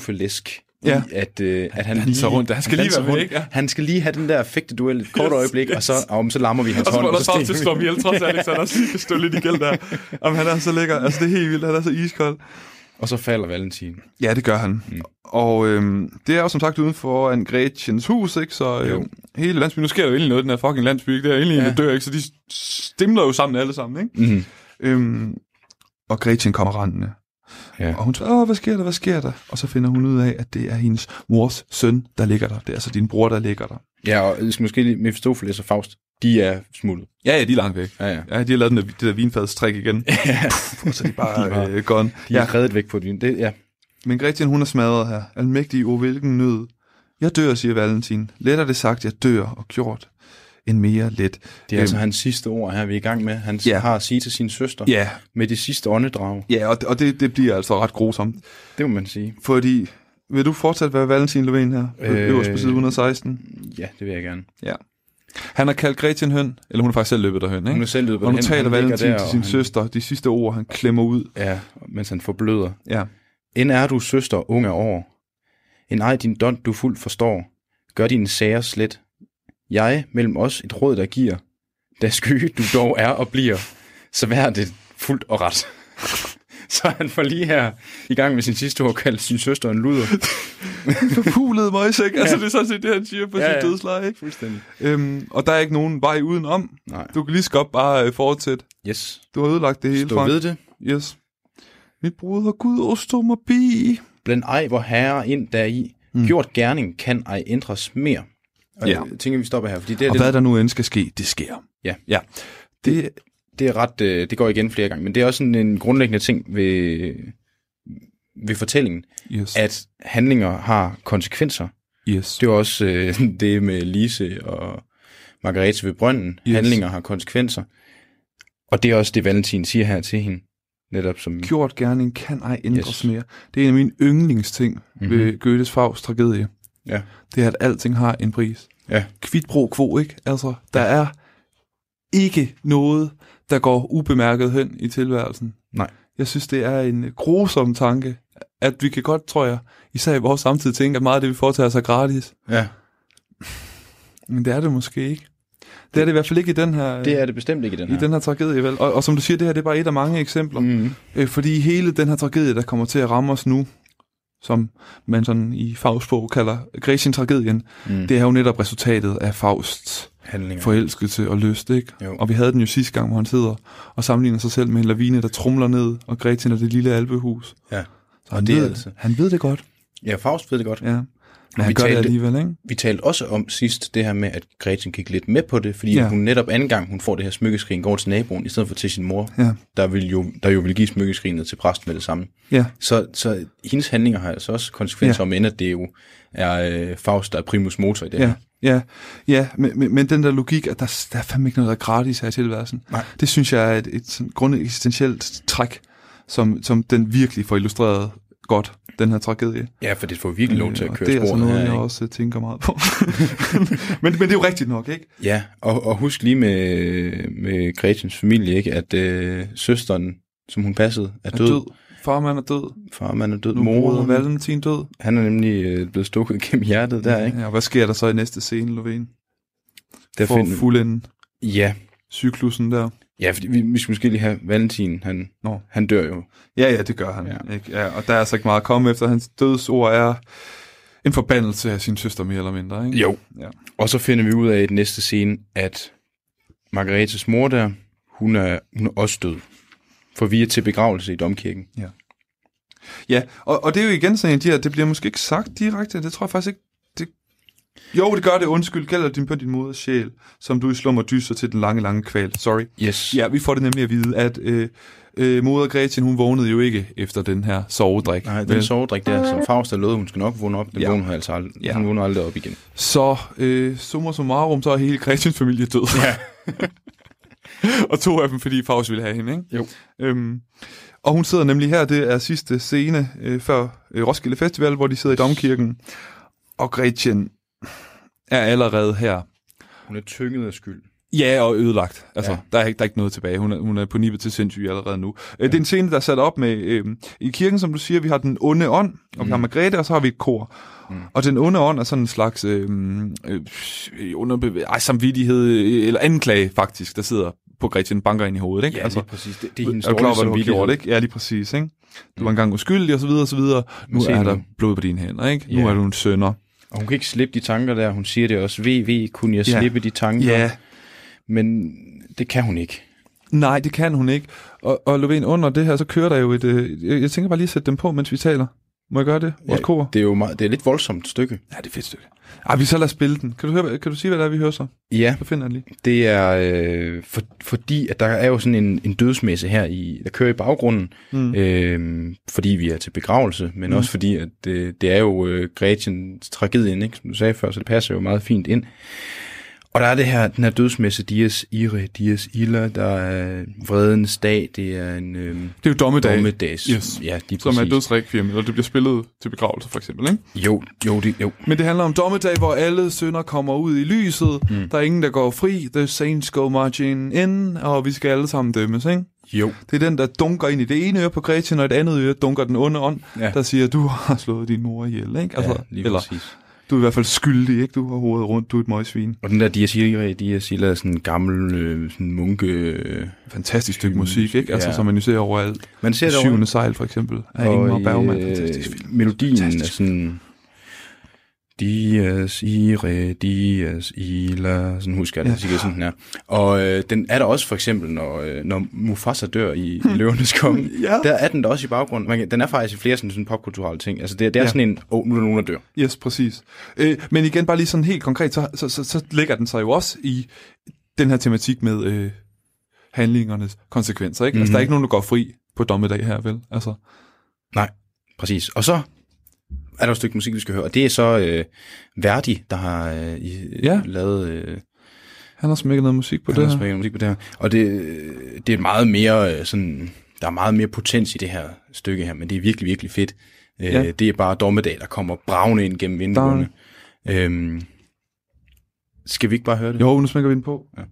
D: mephistofelesk
C: Ja.
D: ja. i, at, uh, at han
C: danser rundt. Han skal lige
D: danser
C: være med,
D: rundt.
C: ikke? Ja.
D: Han skal lige have den der fægteduel et kort yes, øjeblik, og så, om, så lammer vi hans
C: Og så
D: hånd.
C: var der Faust til
D: stikker
C: at
D: vi.
C: slå ham ihjel, trods alt, ikke? så han *laughs* også lige kan stå lidt i gæld der. Jamen, han er så lækker. Altså, det er helt vildt. Han er så iskold.
D: og så falder Valentin.
C: Ja, det gør han. Mm. Og øhm, det er jo som sagt uden for en Gretchens hus, ikke? Så øh,
D: Jo.
C: hele landsbyen, nu sker der jo egentlig noget, i den her fucking landsby, ikke? Det er egentlig ja. en, der dør, ikke? Så de stemler jo sammen alle sammen, ikke?
D: Mm.
C: Øhm, og Gretchen kommer rendende.
D: Ja.
C: Og hun siger, Åh, hvad sker der, hvad sker der? Og så finder hun ud af, at det er hendes mors søn, der ligger der. Det er altså din bror, der ligger der.
D: ja, og jeg skal måske lige, Mephistopheles og Faust, de er smuttet.
C: Ja, ja, de er langt væk.
D: Ja, ja.
C: Ja, de har lavet den der, det der vinfadstrik igen. *laughs* Ja. og så er de
D: De var-
C: bare øh, gone.
D: De er reddet væk på et vin. Det, ja.
C: Men Gretchen, hun er smadret her. Almægtig, o hvilken nød. Jeg dør, siger Valentin. Lettere det sagt, jeg dør og gjort, end mere let.
D: Det er altså hans sidste ord her, vi er i gang med. Han
C: Øhm. Ja.
D: ja. har at sige til sin søster
C: Ja,
D: med det sidste åndedrag.
C: ja og, og det, det bliver altså ret grusomt.
D: Det må man sige.
C: Fordi, vil du fortsat være Valentin Löfven her? Øh...
D: Øh.
C: Øverst på side 116.
D: Ja, det vil jeg gerne.
C: Ja. Han har kaldt Gretchen høn, eller hun er faktisk selv løbet derhen, ikke?
D: Hun er selv løbet
C: og nu
D: derhen,
C: taler
D: han ligger
C: Valentin
D: der,
C: til
D: og
C: sin han...
D: han-
C: søster. De sidste ord, han klemmer ud.
D: Ja, mens han forbløder. *laughs*
C: Ja.
D: End er du søster, ung af år. En ej din dond, du fuldt forstår. Gør dine sager slet. Jeg mellem os et råd, der giver. Da sky du dog er og bliver, så vær det fuldt og ret. *laughs* så han får lige her i gang med sin sidste ord kaldt sin søster en luder.
C: Forpulet møgsæk. Altså, det er sådan set det, han siger på ja,
D: Ja,
C: sit
D: ja.
C: dødsleje, ikke?
D: Fuldstændig.
C: Øhm, og der er ikke nogen vej udenom.
D: Nej.
C: Du kan lige så godt bare øh, fortsætte.
D: Yes.
C: Du har ødelagt det hele,
D: Stå ved det.
C: Yes. Mit broder Gud, åh, stå mig bi.
D: Bland ej, hvor herre ind deri. Mm. Gjort gerning kan ej ændres mere. Og
C: Ja.
D: ja. jeg tænker, vi stopper her, fordi det er
C: Og
D: det,
C: hvad der nu end skal ske, det sker.
D: Ja.
C: Ja. Det,
D: det er ret, øh, det går igen flere gange, men det er også sådan en grundlæggende ting ved, ved fortællingen,
C: yes.
D: at handlinger har konsekvenser.
C: yes.
D: Det er også øh, *laughs* det med Lise og Margrethe ved brønden.
C: Yes.
D: Yes. Handlinger har konsekvenser. Og det er også det, Valentin siger her til hende. Netop som...
C: Gjort gerning kan ej ændres yes.
D: Yes. Mhm.
C: mere. Det er en af mine yndlingsting mm-hmm. ved Goethes Faust tragedie.
D: Ja.
C: Det er, at alting har en pris.
D: Ja.
C: Kvit pro quo, ikke? Altså, der er ikke noget, der går ubemærket hen i tilværelsen.
D: Nej.
C: Jeg synes, det er en grusom tanke, at vi kan godt, tror jeg, især i vores samtid, tænke, at meget af det, vi foretager sig gratis.
D: ja.
C: Men det er det måske ikke. Det er det i hvert fald ikke i den her,
D: Det er det bestemt ikke i den
C: i
D: her.
C: den her tragedie, vel? Og, og som du siger, det her det er bare et af mange eksempler. Mm.
D: Mm.
C: Øh, fordi hele den her tragedie, der kommer til at ramme os nu, som man sådan i Faustsprog kalder Gretchen-tragedien,
D: Mm.
C: det er jo netop resultatet af Fausts
D: handlinger.
C: forelskelse og lyst, ikke?
D: Jo.
C: Og vi havde den jo sidste gang, hvor han sidder og sammenligner sig selv med en lavine, der trumler ned, og Gretchen er det lille albehus.
D: Ja.
C: Så han,
D: det
C: det
D: er
C: ved,
D: altså-
C: altså. han ved det godt,
D: Ja, Faust ved det godt.
C: ja. Men
D: vi
C: han gør det
D: talte-
C: alligevel, ikke?
D: Vi talte også om sidst det her med, at Gretchen gik lidt med på det, fordi ja.
C: Ja.
D: hun netop anden gang, hun får det her smykkeskrin, går til naboen, i stedet for til sin mor,
C: Ja.
D: der, vil jo, der jo vil give smykkeskrinet til præsten med det samme.
C: Ja,
D: Så, så hendes handlinger har altså også konsekvenser, ja. om end at det jo er øh, Faust, der er primus motor i det her.
C: ja, ja, ja men, men, men den der logik, at der, der er fandme ikke noget, der er gratis her i tilværelsen,
D: Nej.
C: det synes jeg er et, et sådan grundessentielt træk, som, som den virkelig får illustreret godt, den her tragedie.
D: Ja, for det får virkelig lov til at
C: Øh, og
D: køre
C: Det er altså
D: sporet
C: noget,
D: her,
C: jeg
D: ikke?
C: også øh, tænker meget på. *laughs* men, men det er jo rigtigt nok, ikke?
D: Ja, og, og husk lige med, med Gretchens familie, ikke, at øh, søsteren, som hun passede, er
C: Er
D: død. Er død.
C: Farmand er død.
D: Far, man er død.
C: Nu er broder
D: Mor,
C: Valentin død.
D: han er nemlig øh, blevet stukket *laughs* gennem hjertet der, ikke?
C: Ja, og hvad sker der så i næste scene, Lovén?
D: Der
C: For
D: find-
C: at fuldende
D: Ja,
C: cyklusen der.
D: ja fordi vi, vi skal måske lige have Valentin, han,
C: Nå.
D: han dør jo.
C: Ja, ja, det gør han.
D: Ja.
C: Ja. Ikke? Ja, og der er altså ikke meget at komme efter. Hans dødsord er en forbandelse af sin søster, mere eller mindre. Ikke?
D: Jo.
C: Ja.
D: Og så finder vi ud af i den næste scene, at Margaretes mor der, hun er, hun er også død. For vi er til begravelse i domkirken.
C: Ja, og, og det er jo igen sådan en af de her, det bliver måske ikke sagt direkte, det tror jeg faktisk ikke, det... Jo, det gør det, undskyld, gælder din på din moders sjæl, som du i slummer dyser til den lange, lange kval. Sorry.
D: Yes.
C: Ja, vi får det nemlig at vide, at øh, øh, moder Gretchen, hun vågnede jo ikke efter den her sovedrik.
D: Nej, den
C: Vel?
D: sovedrik der, som Faust har lovet, hun skal nok vågne op, den ja.
C: Ja.
D: vågner hun altså aldrig, ja.
C: Ja.
D: hun vågner aldrig op igen.
C: Så øh, summa summarum, så er hele Christians familie død. Ja. *laughs* og to af dem, fordi Faust ville have hende, ikke?
D: Jo.
C: Øhm, og hun sidder nemlig her, det er sidste scene øh, før øh, Roskilde Festival, hvor de sidder i domkirken. Og Gretchen er allerede her.
D: Hun er tynget af skyld.
C: Ja, og ødelagt. Altså,
D: Ja.
C: ja. der, er ikke, der er ikke noget tilbage. Hun er, hun er på nippet til sindssyg allerede nu. Ja. Det er en scene, der er sat op med... Øh, I kirken, som du siger, vi har den onde ånd, og mm. vi har Margrethe, og så har vi et kor. Mm. Og den onde ånd er sådan en slags øh, øh, underbevæg... Ej, samvittighed, øh, eller anklage faktisk, der sidder på Gretchen banker ind i hovedet, ikke?
D: Ja, altså,
C: altså,
D: lige præcis. Det, det er hendes
C: er du klar,
D: dårlige
C: over, hvad du har gjort,
D: samvittighed.
C: ikke? Ja, lige præcis, ikke? Du var engang uskyldig, og så videre, og så videre. Nu
D: se
C: er
D: nu.
C: der blod på dine hænder, ikke?
D: Ja.
C: Nu er du en sønder.
D: Og hun kan ikke slippe de tanker der. Hun siger det også. VV, kunne jeg
C: Ja.
D: slippe de tanker?
C: Ja,
D: Men det kan hun ikke.
C: Nej, det kan hun ikke. Og, og Lovén, under det her, så kører der jo et... Øh, jeg, jeg tænker bare lige at sætte dem på, mens vi taler. Må jeg gøre det? Vores
D: Ja,
C: kor?
D: Det er jo meget, det er et lidt voldsomt stykke.
C: Ja, det er fedt stykke. Ej, vi så lad os spille den. Kan du, høre, hvad- kan du sige, hvad det er, vi hører så?
D: Ja,
C: Så finder jeg den lige.
D: det er øh, for, fordi, at der er jo sådan en, en dødsmesse her, i, der kører i baggrunden, mm. øh, fordi vi er til begravelse, men mm. også fordi, at øh, det er jo øh, Gretchens tragedien, ikke? som du sagde før, så det passer jo meget fint ind. Og der er det her, den her dødsmesse, Dies Ire, Dies Illa, der er vredens dag, det er en øh,
C: Det er jo dommedag,
D: dommedags.
C: Yes.
D: Ja, lige
C: som er
D: præcis.
C: dødsrækviem, eller det bliver spillet til begravelse, for eksempel, ikke?
D: Jo, jo, det, jo.
C: Men det handler om dommedag, hvor alle sønder kommer ud i lyset. Mm. Der er ingen, der går fri. The saints go marching in, og vi skal alle sammen dømmes, ikke?
D: Jo.
C: Det er den, der dunker ind i det ene øre på Gretchen, og i det andet øre dunker den onde ånd,
D: Ja.
C: ja. der siger, du har slået din mor ihjel, ikke?
D: Ja,
C: Altså,
D: lige
C: eller,
D: præcis.
C: Du er i hvert fald skyldig, ikke? Du har hovedet rundt, du er et møgsvin.
D: Og den der Dias Irae, Dias Illa er sådan en gammel øh, sådan munke... Øh,
C: Fantastisk stykke musik, ikke? Altså,
D: Ja.
C: ja. som man jo ser overalt.
D: man ser
C: Det
D: det over-
C: syvende sejl, for eksempel, af Ingmar Bergman. Fantastisk film.
D: øh, Melodien
C: Fantastisk
D: er sådan... Dias ire, dias ila, sådan husker jeg det,
C: Ja.
D: sikkert sådan den er. Og øh, den er der også for eksempel, når, øh, når Mufasa dør i,
C: *laughs*
D: i Løvenes Konge.
C: Ja.
D: Der er den der også i baggrunden. Man kan, den er faktisk i flere sådan, sådan popkulturelle ting. Altså det, det er ja.
C: Ja.
D: sådan en, åh, oh, nu er der nogen, der dør.
C: Yes, præcis. Øh, men igen, bare lige sådan helt konkret, så, så, så, så lægger den sig jo også i den her tematik med øh, handlingernes konsekvenser, ikke? Mm-hmm. Altså, der er ikke nogen, der går fri på dommedag her, vel? Altså,
D: Nej, præcis. Og så er der et stykke musik, vi skal høre, og det er så øh, Verdi, der har øh, i, ja.
C: Ja.
D: lavet... Øh,
C: han har smækket noget musik på
D: på det
C: det
D: her.
C: her.
D: musik på det her. Og det, det er meget mere øh, sådan, der er meget mere potens i det her stykke her, men det er virkelig, virkelig fedt. Ja.
C: Ja.
D: Øh, det er bare dommedag, der kommer bravende ind gennem vinduerne. Øhm, skal vi ikke bare høre det?
C: Jo, nu smækker vi den på. Ja.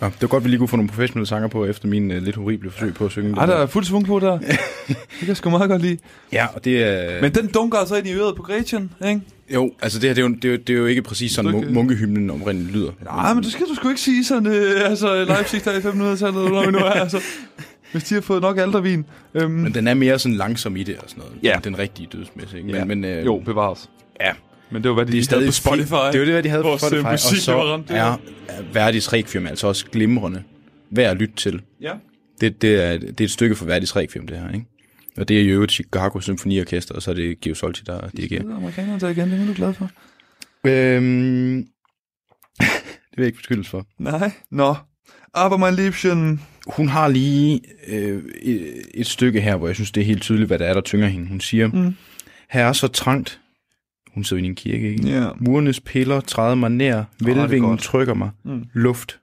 D: Nå, det var godt, vi lige kunne få nogle professionelle sanger på, efter min uh, lidt horrible forsøg på at synge.
C: Ej,
D: den
C: der
D: her.
C: er fuld svung på *laughs* der. det kan jeg sgu meget godt lide.
D: Ja, og det er...
C: Men den dunker altså ind i øret på Gretchen, ikke?
D: Jo, altså det her, det er jo, det er jo, det er jo ikke præcis sådan,
C: Du
D: mun-
C: kan-
D: munkehymnen omrindeligt lyder.
C: Nej, men det skal du sgu ikke sige sådan, øh, altså Leipzig der i 500-tallet, når vi nu er, altså. Hvis de har fået nok aldervin. Øhm,
D: Men den er mere sådan langsom i det og sådan noget.
C: Ja.
D: Den rigtige dødsmæssige. Ikke? Men,
C: ja.
D: men, øh,
C: jo, bevares.
D: Ja.
C: Men det var, hvad de,
D: Det er stadig
C: havde på Spotify.
D: Fi- det er jo det, hvad de havde på
C: Vores, øh,
D: Spotify. Og
C: musik,
D: så
C: der var ramt der.
D: er, er Verdis Requiem altså også glimrende. Værd at lytte til.
C: Ja.
D: Det, det, er, det er et stykke for Verdis Requiem, det her, ikke? Og det er jo et Chicago Symfoniorkester, og så er det Geo Solti, der
C: Det
D: dirigerer.
C: er amerikanerne der igen, det er du glad for.
D: Øhm, *laughs* det vil jeg ikke beskyldes for.
C: Nej. Nå. Aber mein Liebchen.
D: Hun har lige øh, et, et stykke her, hvor jeg synes, det er helt tydeligt, hvad der er, der tynger hende. Hun siger,
C: Mm.
D: mm. her er så trangt. Hun sidder inde i en kirke, ikke?
C: Ja.
D: Murenes piller træder mig nær,
C: det er
D: velvingen
C: godt.
D: trykker mig.
C: Mm.
D: Mm. Luft.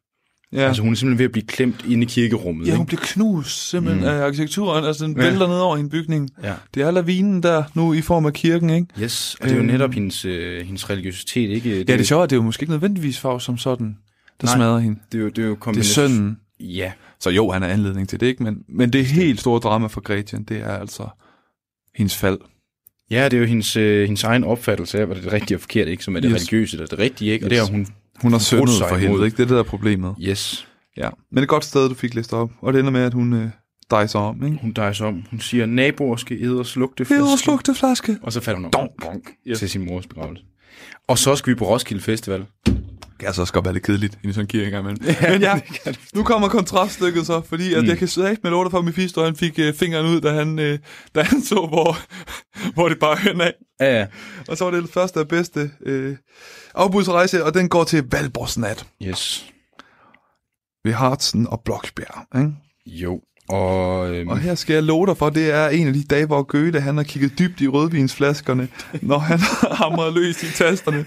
C: Ja.
D: Ja. Altså hun er simpelthen ved at blive klemt inde i kirkerummet.
C: Ja, hun
D: ikke?
C: bliver knust simpelthen mm.
D: Mm.
C: af arkitekturen. Altså, den
D: Ja.
C: vælter ned over hende bygning.
D: ja.
C: Det er lavinen der nu i form af kirken, ikke?
D: Yes, og det er jo
C: Øhm.
D: netop hendes, øh, hendes religiøsitet, ikke?
C: Ja, det sjove er, det er jo måske ikke nødvendigvis farve som sådan, der
D: Nej.
C: smadrer hende.
D: det, er jo, det er jo
C: Det er
D: kombination.
C: sønnen.
D: Ja,
C: Så jo, han er anledning til det, ikke? Men, men det helt store drama for Gretchen, det er altså hendes fald.
D: ja det er jo hendes, øh, hendes egen opfattelse af, hvad det er det rigtige og forkert, ikke? Som er det
C: Yes.
D: yes. religiøse, der er det rigtige, ikke? Og
C: Yes.
D: det har hun,
C: Hun har syndet
D: sig
C: for
D: imod.
C: helvede, ikke? Det er det, der er problemet.
D: yes,
C: Ja. Men et godt sted, du fik listet op. Og det ender med, at hun øh, dejser om, ikke?
D: hun drejer sig om. Hun siger, naboer skal æde og slugte det
C: Heder og slugte flaske.
D: Og så falder hun om
C: Donk.
D: Donk.
C: Yes.
D: til sin mors begravelse. Og så skal vi på Roskilde Festival.
C: Det kan altså også godt være lidt kedeligt i sådan en kirke engang, men... men *laughs* ja, nu kommer kontraststykket så, fordi at mm. jeg kan sige med lort for, at Mephisto han fik øh, fingeren ud, da han, øh, da han så, hvor, *laughs* hvor det bare hen af.
D: Ja, ja.
C: Og så var det det første og bedste øh, afbudsrejse, og den går til Valborgsnat
D: Yes.
C: ved Hartsen og Bloksbjerg. Ikke?
D: Jo. Og, øhm,
C: Og her skal jeg love dig for, det er en af de dage, hvor Goethe han har kigget dybt i rødvinsflaskerne, når han *laughs* har hamret løs i *laughs* tasterne.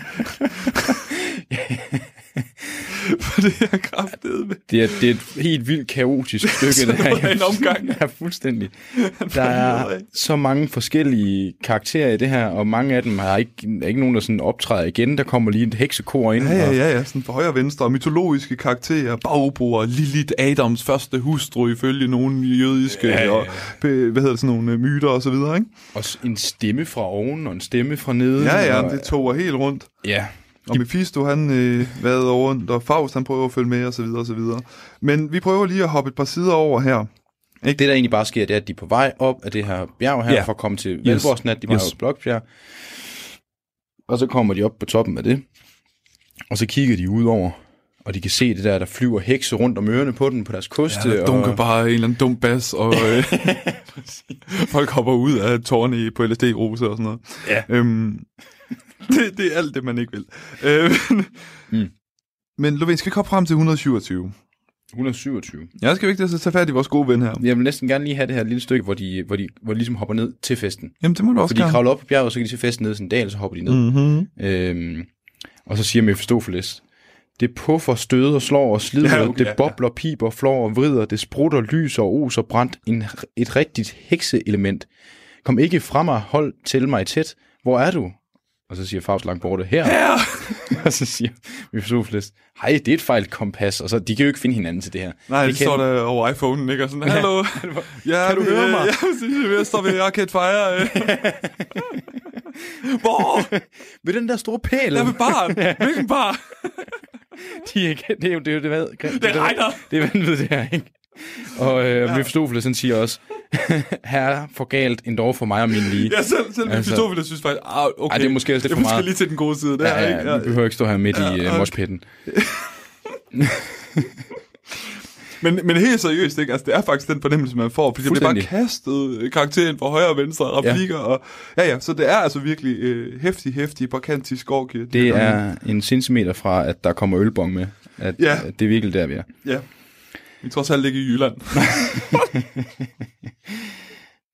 C: for det er kraftedet med.
D: Det er, det er et helt vildt kaotisk
C: *laughs*
D: stykke, det
C: noget
D: her.
C: af en omgang.
D: Ja,
C: *laughs*
D: fuldstændig. Der er så mange forskellige karakterer i det her, og mange af dem har ikke, er ikke nogen, der sådan optræder igen. Der kommer lige et heksekor ind.
C: Ja, ja,
D: og-
C: ja, ja. Sådan for højre og venstre. Mytologiske karakterer, bagbroer, Lilith Adams første hustru ifølge nogle jødiske, ja, ja, ja. og be- hvad hedder det, sådan nogle øh, myter og så videre, ikke?
D: Og s- en stemme fra oven og en stemme fra neden.
C: Ja, ja,
D: og,
C: det tog helt rundt.
D: ja.
C: Og Mephisto, han øh, vader over rundt, og Faust, han prøver at følge med, og så videre, og så videre. Men vi prøver lige at hoppe et par sider over her.
D: Det, der egentlig bare sker, det er, at de er på vej op af det her bjerg her,
C: Ja.
D: for at komme til Valborgsnat. De var
C: Yes.
D: yes. jo Blokbjerg. Og så kommer de op på toppen af det, og så kigger de ud over, og de kan se det der, der flyver hekse rundt om ørerne på den, på deres koste.
C: Ja, der dunker
D: og...
C: bare en eller anden dum bas, og *laughs* øh, folk hopper ud af tårne i- på LSD-rose og sådan noget.
D: Ja.
C: Øhm, *laughs* det, det er alt det, man ikke vil. Øh, men, mm.
D: Mm.
C: men Lovén, skal vi ikke hoppe frem til 127?
D: 127.
C: Ja, skal vi ikke det, så tage fat i vores gode ven her?
D: Jeg vil næsten gerne lige have det her lille stykke, hvor de, hvor de, hvor de ligesom hopper ned til festen.
C: Jamen, det må du også
D: For de
C: gerne.
D: kravler op på bjerget, så kan de se festen ned i sådan en dal, så hopper de ned.
C: Mm-hmm.
D: Mm. Øhm, og så siger Mephistopheles, det puffer, støder, slår og slider,
C: Ja,
D: ja,
C: okay,
D: okay,
C: ja, ja.
D: det bobler, piber, flår og vrider, det sprutter, lyser og oser brændt, en, et rigtigt hekseelement. Kom ikke fra mig, hold til mig tæt. Hvor er du? Og så siger Faust langt borte, her. her! *laughs* og så siger Mephistopheles, hej, det er et fejl kompas. Og så, de kan jo ikke finde hinanden til det her.
C: Nej,
D: de
C: det, det står der over iPhone'en, ikke? Og sådan, hallo, ja,
D: *laughs* Kan du høre mig?
C: Ja, præcis, jeg er ved at stoppe i Arcade Fire. øh. Hvor?
D: Ved den der store pæl.
C: Jeg er ved barn. Hvilken bar?
D: *laughs* de ikke, det er jo det, er jo det, hvad, det,
C: Det regner.
D: Det er vanvittigt, det her, ikke? Og øh, ja. Mephistopheles, han siger også, *laughs* herre for galt, en dog for mig og min lige.
C: Ja, selv, selv altså,
D: Altså-
C: Mephistopheles synes faktisk, ah, okay.
D: Ej, det er måske også lidt
C: det er
D: for
C: måske
D: meget.
C: lige til den gode side der,
D: Ja, ja,
C: ikke? Ja.
D: ja, vi behøver ikke stå her midt ja, i
C: Ja, og-
D: øh, moshpitten.
C: Men, men helt seriøst, ikke? Altså, det er faktisk den fornemmelse, man får, fordi det bliver bare
D: Fuldstændig.
C: kastet øh, karakteren fra højre og venstre, replikker, ja. og ja, ja, så det er altså virkelig øh, hæftig, hæftig, barkantisk skorkir.
D: Det er en centimeter fra, at der kommer ølbong med. At,
C: Ja.
D: ja. at det er virkelig der, vi er.
C: Ja. Vi er trods alt ikke i Jylland.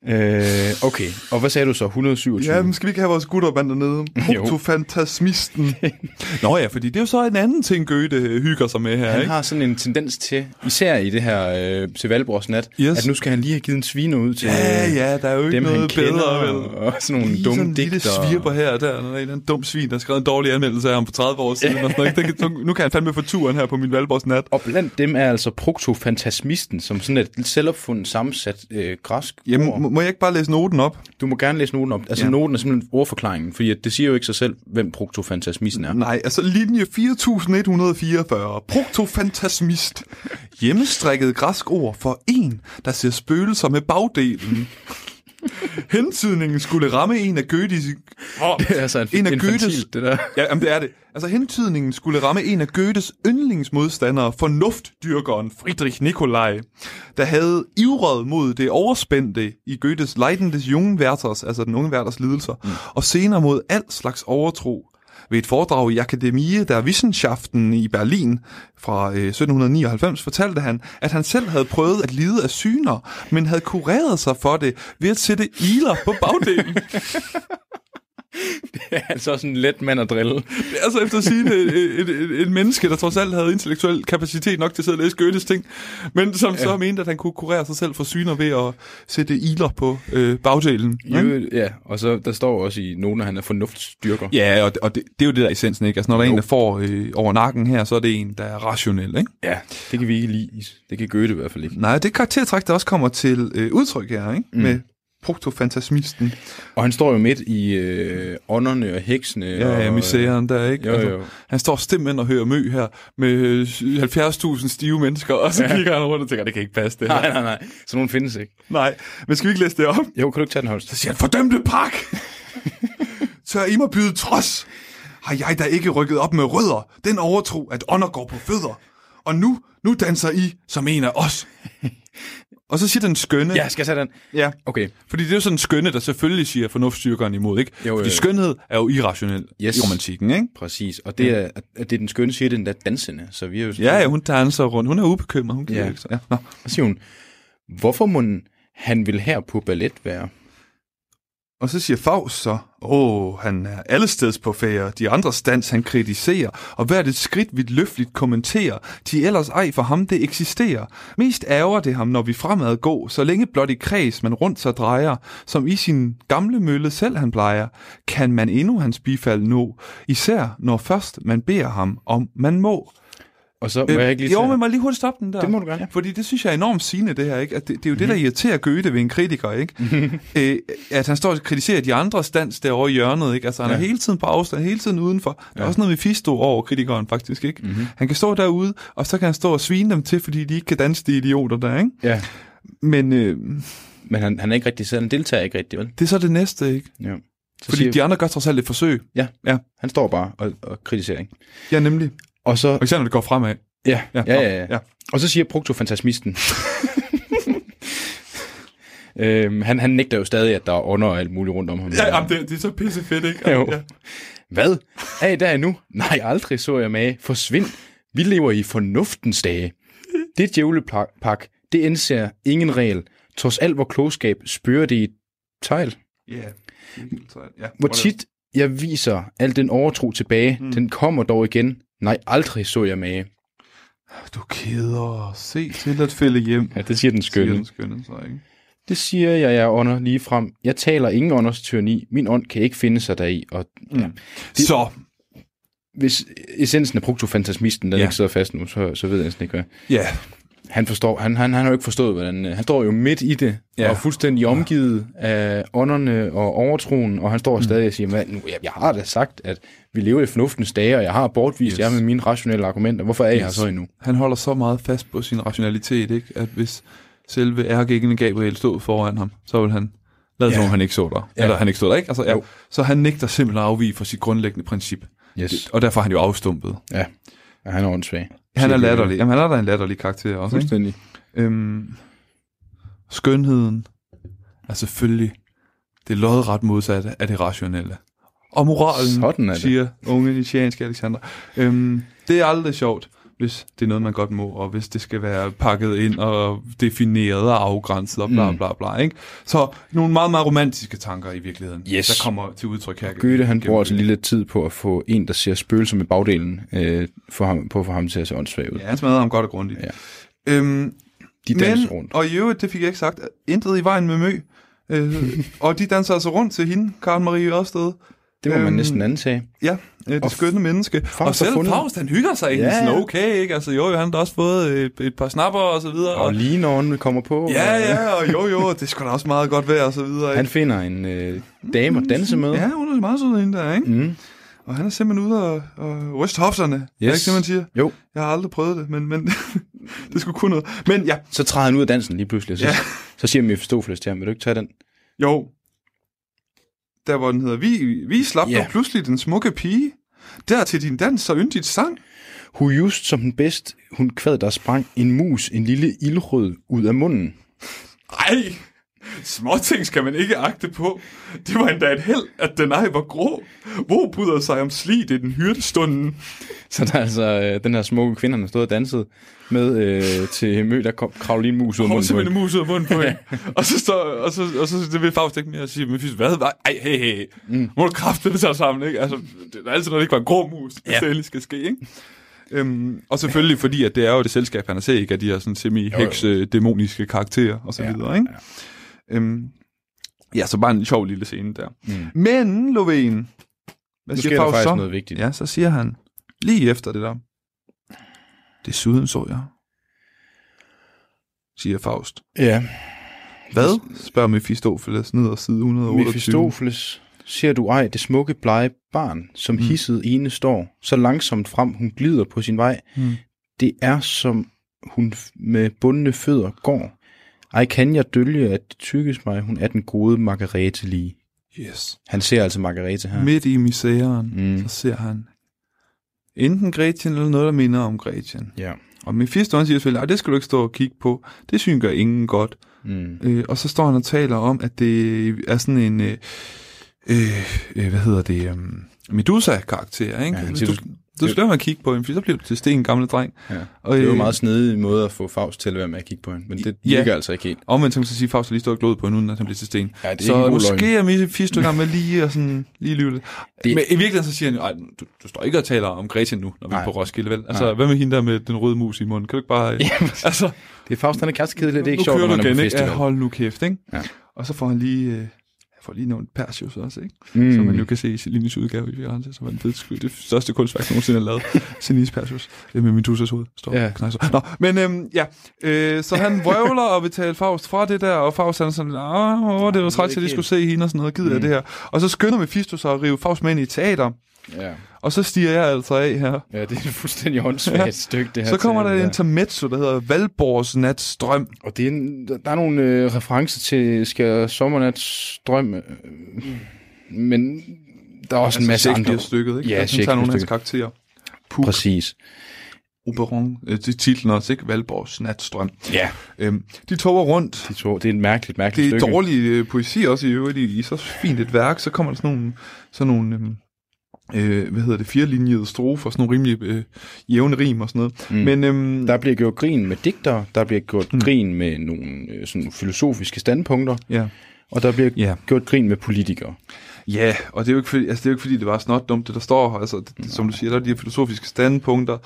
D: Øh, okay, og hvad sagde du så? 127?
C: Ja, men skal vi ikke have vores gutterband *laughs* dernede?
D: Jo.
C: Protofantasmisten. *laughs* Nå ja, fordi det er jo så en anden ting, Goethe hygger sig med her,
D: Han
C: ikke?
D: har sådan en tendens til, især i det her øh, til Valborgs nat,
C: Yes.
D: yes. at nu skal han lige have givet en sviner ud til
C: Ja,
D: øh,
C: ja, der er jo ikke
D: dem, han
C: noget
D: kender,
C: bedre, vel?
D: og, og sådan nogle
C: Lige
D: dumme
C: sådan en lille
D: digter.
C: svirper her og der, og der er en eller anden dum svin, der har skrevet en dårlig anmeldelse af ham for 30 år siden. og sådan noget. ikke? Det kan, nu kan han fandme få turen her på min Valborgs *laughs* nat.
D: Og blandt dem er altså proktofantasmisten, som sådan et selvopfundet sammensat øh, græsk
C: Jamen,
D: ord.
C: må- må jeg ikke bare læse noten op?
D: Du må gerne læse noten op. Altså
C: Ja.
D: ja. noten er simpelthen ordforklaringen, fordi at det siger jo ikke sig selv, hvem proktofantasmisten er.
C: Nej, altså linje 4144. Proktofantasmist. Hjemmestrikket græsk ord for en, der ser spøgelser med bagdelen. Hentydningen skulle ramme en af Goethes...
D: Det er *laughs* altså en,
C: En af
D: infantilt,
C: Goethes-
D: det der. *laughs*
C: Ja, jamen, det er det. Altså, hentydningen skulle ramme en af Goethes yndlingsmodstandere, fornuftdyrkeren Friedrich Nikolaj, der havde ivret mod det overspændte i Goethes Leidendes junge værters, altså den unge værters lidelser, mm. og senere mod al slags overtro. Ved et foredrag i Akademie der Wissenschaften i Berlin fra øh, 1799 fortalte han, at han selv havde prøvet at lide af syner, men havde kureret sig for det ved at sætte iler på bagdelen.
D: altså også en let mand at drille.
C: Altså efter sin et, et, et, et menneske, der trods alt havde intellektuel kapacitet nok til at sidde og læse Goethes ting, men som ja. så mente, at han kunne kurere sig selv for syner ved at sætte iler på øh, bagdelen.
D: I øvrigt, Ja, og så der står også i noten, at han er fornuftsstyrker.
C: Ja, og, og det, det er jo det der er essensen, ikke? Altså når der er en, der får øh, over nakken her, så er det en, der er rationel, ikke?
D: ja, det kan vi ikke lide. Det kan Goethe i hvert fald ikke.
C: Nej, det er karaktertræk, der også kommer til øh, udtryk her, ikke? Mm. Med proktofantasmisten.
D: Og han står jo midt i øh, ånderne og heksene.
C: Ja, ja,
D: og, *laughs*
C: misæren der, ikke?
D: Jo,
C: Altså,
D: jo.
C: Han står stemmen og hører mø her med øh, 70.000 stive mennesker, og så ja. kigger han rundt og tænker, det kan ikke passe det her.
D: Nej, nej, nej. Så nogen findes ikke.
C: Nej, men skal vi ikke læse det op?
D: Jo, kan du ikke tage den, Holst?
C: Så siger han, fordømte
D: *laughs*
C: pak! Tør I mig byde trods? Har jeg da ikke rykket op med rødder? Den overtro, at ånder går på fødder. Og nu, nu danser I som en af
D: *laughs*
C: os. Og så siger den skønne.
D: Ja, skal jeg tage den?
C: ja.
D: Okay.
C: Fordi det er jo sådan en skønne, der selvfølgelig siger fornuftstyrkeren imod, ikke?
D: Jo,
C: Fordi
D: øh.
C: skønhed er jo irrationel
D: Yes.
C: i romantikken, ikke?
D: Præcis. Og det er, at det er den skønne siger, det er den der dansende. Så vi er jo
C: Ja, ja, hun danser rundt. Hun er ubekymret. Hun kan
D: Ja.
C: ikke. så- Ja. Nå.
D: Så siger hun, hvorfor må han vil her på ballet være?
C: Og så siger Faust så, åh, han er allesteds på fære, de andre stands han kritiserer, og hvert et skridt vidt løfligt kommenterer, de ellers ej for ham det eksisterer. Mest ærger det ham, når vi fremad går, så længe blot i kreds man rundt sig drejer, som i sin gamle mølle selv han plejer, kan man endnu hans bifald nå, især når først man beder ham, om man må.
D: Og så må jeg ikke lige
C: Øh, jo,
D: tage...
C: men må jeg lige hurtigt stoppe den der?
D: Det må du gerne. Mhm.
C: Fordi det synes jeg er enormt sigende, det her. Ikke? At det, det er jo det, der irriterer Goethe ved en kritiker.
D: *laughs*
C: ikke? Æ, at han står og kritiserer de andre stands derovre i hjørnet. Ikke? Altså, han ja. er hele tiden på afstand, hele tiden udenfor. Der er også noget Mephisto over kritikeren, faktisk. ikke.
D: Mhm.
C: Mm-hmm. Han kan stå derude, og så kan han stå og svine dem til, fordi de ikke kan danse, de idioter der. Ikke?
D: Ja,
C: Men øh,
D: men han, han er ikke rigtig selv. Han deltager ikke rigtig, vel?
C: det er så det næste, ikke?
D: Ja. Så
C: Fordi de andre gør trods alt et forsøg.
D: Ja,
C: Ja.
D: ja. Han står bare og, og kritiserer, ikke?
C: Ja, nemlig.
D: Og så...
C: Og især når det går fremad.
D: Ja, ja, ja. ja,
C: ja.
D: ja. Og så siger
C: *laughs*
D: proktofantasmisten... øhm, han, han nægter jo stadig, at der er ånder og alt muligt rundt om ham.
C: Ja, jamen, det, det er så pisse fedt, ikke?
D: Jo.
C: Ja.
D: Hvad? Er I der endnu? Nej, aldrig så jeg mage. Forsvind. Vi lever i fornuftens dage. Det djævlepak, det indser ingen regel. Trods alt vor klogskab spørger det i tegl.
C: Ja. Det er helt sejt. ja.
D: Hvor tit jeg viser al den overtro tilbage, mm. den kommer dog igen. Nej, aldrig så jeg mage.
C: Du keder. Se til at fælde hjem.
D: Ja, det siger den
C: Siger
D: skønne.
C: den skønne så, ikke?
D: Det siger jeg, jeg ånder lige frem. Jeg taler ingen ånders tyranni. Min ånd kan ikke finde sig deri. Og ja.
C: Det, så,
D: Hvis essensen af proktofantasmisten, den
C: Ja.
D: ja. ikke sidder fast nu, så, så ved jeg næsten ikke, hvad.
C: ja.
D: Han forstår, han, han, han har jo ikke forstået, hvordan... øh, Han står jo midt i det,
C: Ja.
D: ja. og er fuldstændig omgivet af ånderne og overtroen, og han står stadig og siger, "Hvad nu, jeg, jeg har da sagt, at vi lever i fornuftens dage, og jeg har bortvist
C: Yes.
D: yes. jer med mine rationelle argumenter. Hvorfor er I yes. her
C: Yes.
D: så endnu?
C: Han holder så meget fast på sin rationalitet, ikke? at hvis selve ærgækkende Gabriel stod foran ham, så vil han lade ja. som om, han ikke så der. Ja.
D: Ja.
C: Eller han ikke stod der, ikke? Altså, ja.
D: Jo.
C: Så han nægter simpelthen at afvige fra sit grundlæggende princip.
D: Yes.
C: Og derfor er han jo afstumpet.
D: Ja. ja, han er åndssvag.
C: Han er latterlig. Jamen, han er da en latterlig karakter også. Ikke?
D: Fuldstændig.
C: Øhm, skønheden er selvfølgelig det lodret modsatte af det rationelle. Og moralen,
D: Sådan er det.
C: siger unge nitianske Alexander. Øhm, det er aldrig sjovt, hvis det er noget, man godt må, og hvis det skal være pakket ind og defineret og afgrænset og bla
D: Mm.
C: bla bla. Ikke? Så nogle meget, meget romantiske tanker i virkeligheden,
D: Yes.
C: der kommer til udtryk her.
D: Goethe, han bruger
C: Gennem-
D: altså lige lidt tid på at få en, der ser spøgelser med bagdelen, øh, for ham, på at få ham til at se åndssvag ud.
C: Ja, han smadrer ham godt og grundigt.
D: Ja.
C: Øhm,
D: De danser
C: men,
D: rundt.
C: og i øvrigt, det fik jeg ikke sagt, intet i vejen med mø. Øh,
D: *laughs*
C: og de danser altså rundt til hende, Karen Marie Ørsted.
D: Det må øhm, man
C: øhm,
D: næsten antage.
C: Ja, øh,
D: Og
C: det skønne menneske.
D: Faust har
C: Og selv
D: fundet-
C: Faust, han hygger sig egentlig
D: Ja,
C: sådan
D: ja.
C: okay, ikke? Altså jo, jo, han har også fået et, et par snapper og så videre.
D: Og lige når han kommer på,
C: ja,
D: og,
C: ja, og jo, jo, det skulle da også meget godt være og så videre.
D: han
C: Ikke?
D: finder en øh, dame at danse med.
C: Ja, hun er meget sød hende der, ikke?
D: Mm.
C: Og han er simpelthen ude og, og ryste hofterne. Yes. Det er
D: Yes.
C: ikke det, man siger.
D: Jo,
C: Jeg har aldrig prøvet det, men, men *laughs* det skulle kun noget. Men ja,
D: så træder han ud af dansen lige pludselig, og så,
C: Ja.
D: ja. så siger Mephistopheles til ham, vil du ikke tage den?
C: Jo. Der hvor den hedder, vi, vi slap yeah.
D: Ja.
C: dog pludselig den smukke pige. Der til din dans og yndigt sang.
D: Hun just som den bedst, hun kvad, der sprang en mus, en lille ildrød, ud af munden.
C: Ej, småting skal man ikke agte på. Det var endda et held, at den ej var grå. Hvor bryder sig om slid i den hyrdestunden?
D: Så der er altså øh, den her smukke kvinde, han har stået og danset med øh, til mø, der kom, kravlede lige en mus ud af
C: Hun er
D: munden. på
C: simpelthen
D: hende.
C: en mus ud af munden
D: *laughs*
C: på hende. og så står, og så, og så det vil Faust ikke mere at sige, men fys, hvad var, ej, hey, hey, mm. må du kraftedeme tage dig sammen, ikke? Altså, det er altid, når det ikke var en grå mus, hvis det endelig skal ske, ikke? Øhm, og selvfølgelig fordi, at det er jo det selskab, han har set, ikke? Af de her sådan semi-heks-dæmoniske karakterer, og så ja, videre, ikke? Ja. Øhm, ja, så bare en sjov lille scene der. Mm. Men, Lovén, hvad siger
D: Nu sker der
C: Faust
D: faktisk
C: så?
D: noget vigtigt.
C: Ja, så siger han, lige efter det der, desuden så jeg, siger Faust.
D: ja.
C: Hvad? spørger Mephistopheles ned ad side 128.
D: Mephistopheles, ser du ej det smukke blege barn, som mm. hisset ene står, så langsomt frem hun glider på sin vej.
C: Mm.
D: Det er som hun f- med bundne fødder går. Ej kan jeg dølge, at det tykkes mig, hun er den gode Margarete lige.
C: Yes.
D: Han ser altså Margarete her.
C: Midt i misæren, mm.
D: Mm.
C: så ser han enten Gretchen eller noget, der minder om Gretchen.
D: Ja.
C: Og Mephisto han siger selvfølgelig, "Ej, det skal du ikke stå og kigge på. Det synes gør ingen godt.
D: Mm.
C: Øh, og så står han og taler om, at det er sådan en, øh, øh, øh, hvad hedder det, um, Medusa-karakter, ikke?
D: Ja, han
C: Hvis
D: siger,
C: du, du skal lade være at kigge på hende, for så bliver du til sten gamle dreng.
D: Ja.
C: Og,
D: Det er jo
C: øh,
D: en meget snedig måde at få Faust til at være med at kigge på hende, men det
C: Ja.
D: virker altså ikke helt.
C: Omvendt, så kan man så sige, at Faust har lige stået og glået på hende, uden at han bliver til sten.
D: Ja, det er ikke
C: så
D: en god
C: måske er Mephisto i gang med lige og sådan lige lyve lidt. Det...
D: Det-
C: Men i virkeligheden så siger han jo, "Ej, du, du står ikke og taler om Gretchen nu, når vi er
D: Nej.
C: på Roskilde, vel? Altså, Nej.
D: Nej.
C: hvad med hende der med den røde mus i munden? Kan du ikke
D: *laughs*
C: bare... Ja, altså,
D: Det er Faust, han er kærestekedelig, det er ikke
C: nu
D: sjovt, når
C: kører
D: han
C: du
D: er
C: igen,
D: på
C: ikke?
D: festival.
C: Ja, hold nu kæft, ikke?
D: Ja.
C: Og så får han lige... Øh, han får lige nævnt Perseus også, ikke? Mm.
D: Mm.
C: Som man jo kan se i Cellini's udgave i Firenze, som er den fedeste, det største kunstværk, der nogensinde er
D: *laughs*
C: lavet. Cellini's Perseus. Det er med Medusas hoved. Står ja.
D: Ja.
C: Nå, men øhm, ja, øh, så han vrøvler og vil tale Faust fra det der, og Faust han er sådan, åh, åh, det var
D: ved
C: træt, at
D: ikke
C: jeg lige skulle
D: helt."
C: se hende og sådan noget, gider mm. jeg det her. Og så skynder Mephisto sig at rive Faust med ind i et teater,
D: Ja.
C: og så stiger jeg altså af her.
D: ja, det er et fuldstændig åndssvagt
C: Ja.
D: ja. stykke, det her.
C: Så kommer der
D: til-
C: et
D: ja.
C: intermezzo, der hedder Valborgs Nats Drøm.
D: Og det er en, der der er nogle øh, referencer til skal sommernats drøm, øh, men der er også altså en masse andre.
C: stykket, ikke?
D: Ja,
C: Altså, han tager nogle af hans
D: Shakespeare-stykket.
C: karakterer.
D: Præcis.
C: Oberon, øh, det er titlen også, ikke? Valborgs Natstrøm.
D: Ja,
C: Øhm, de toger rundt.
D: de to, det er et mærkeligt, mærkeligt
C: Det er
D: stykke.
C: dårlig øh, poesi også i øvrigt i, i så fint et værk, så kommer der sådan nogle, sådan nogle øhm, øh, hvad hedder det, firelinjede strofer, sådan nogle rimelig øh, jævne rim og sådan noget. Mm. Men øhm,
D: Der bliver gjort grin med digter, der bliver gjort mm. grin med nogle øh, sådan filosofiske standpunkter,
C: ja.
D: og der bliver
C: Ja.
D: yeah. gjort grin med politikere.
C: ja, og det er jo ikke fordi, altså, det er jo ikke, fordi det var snot dumt, det der står her. Altså, det, det, som du siger, der er de her filosofiske standpunkter,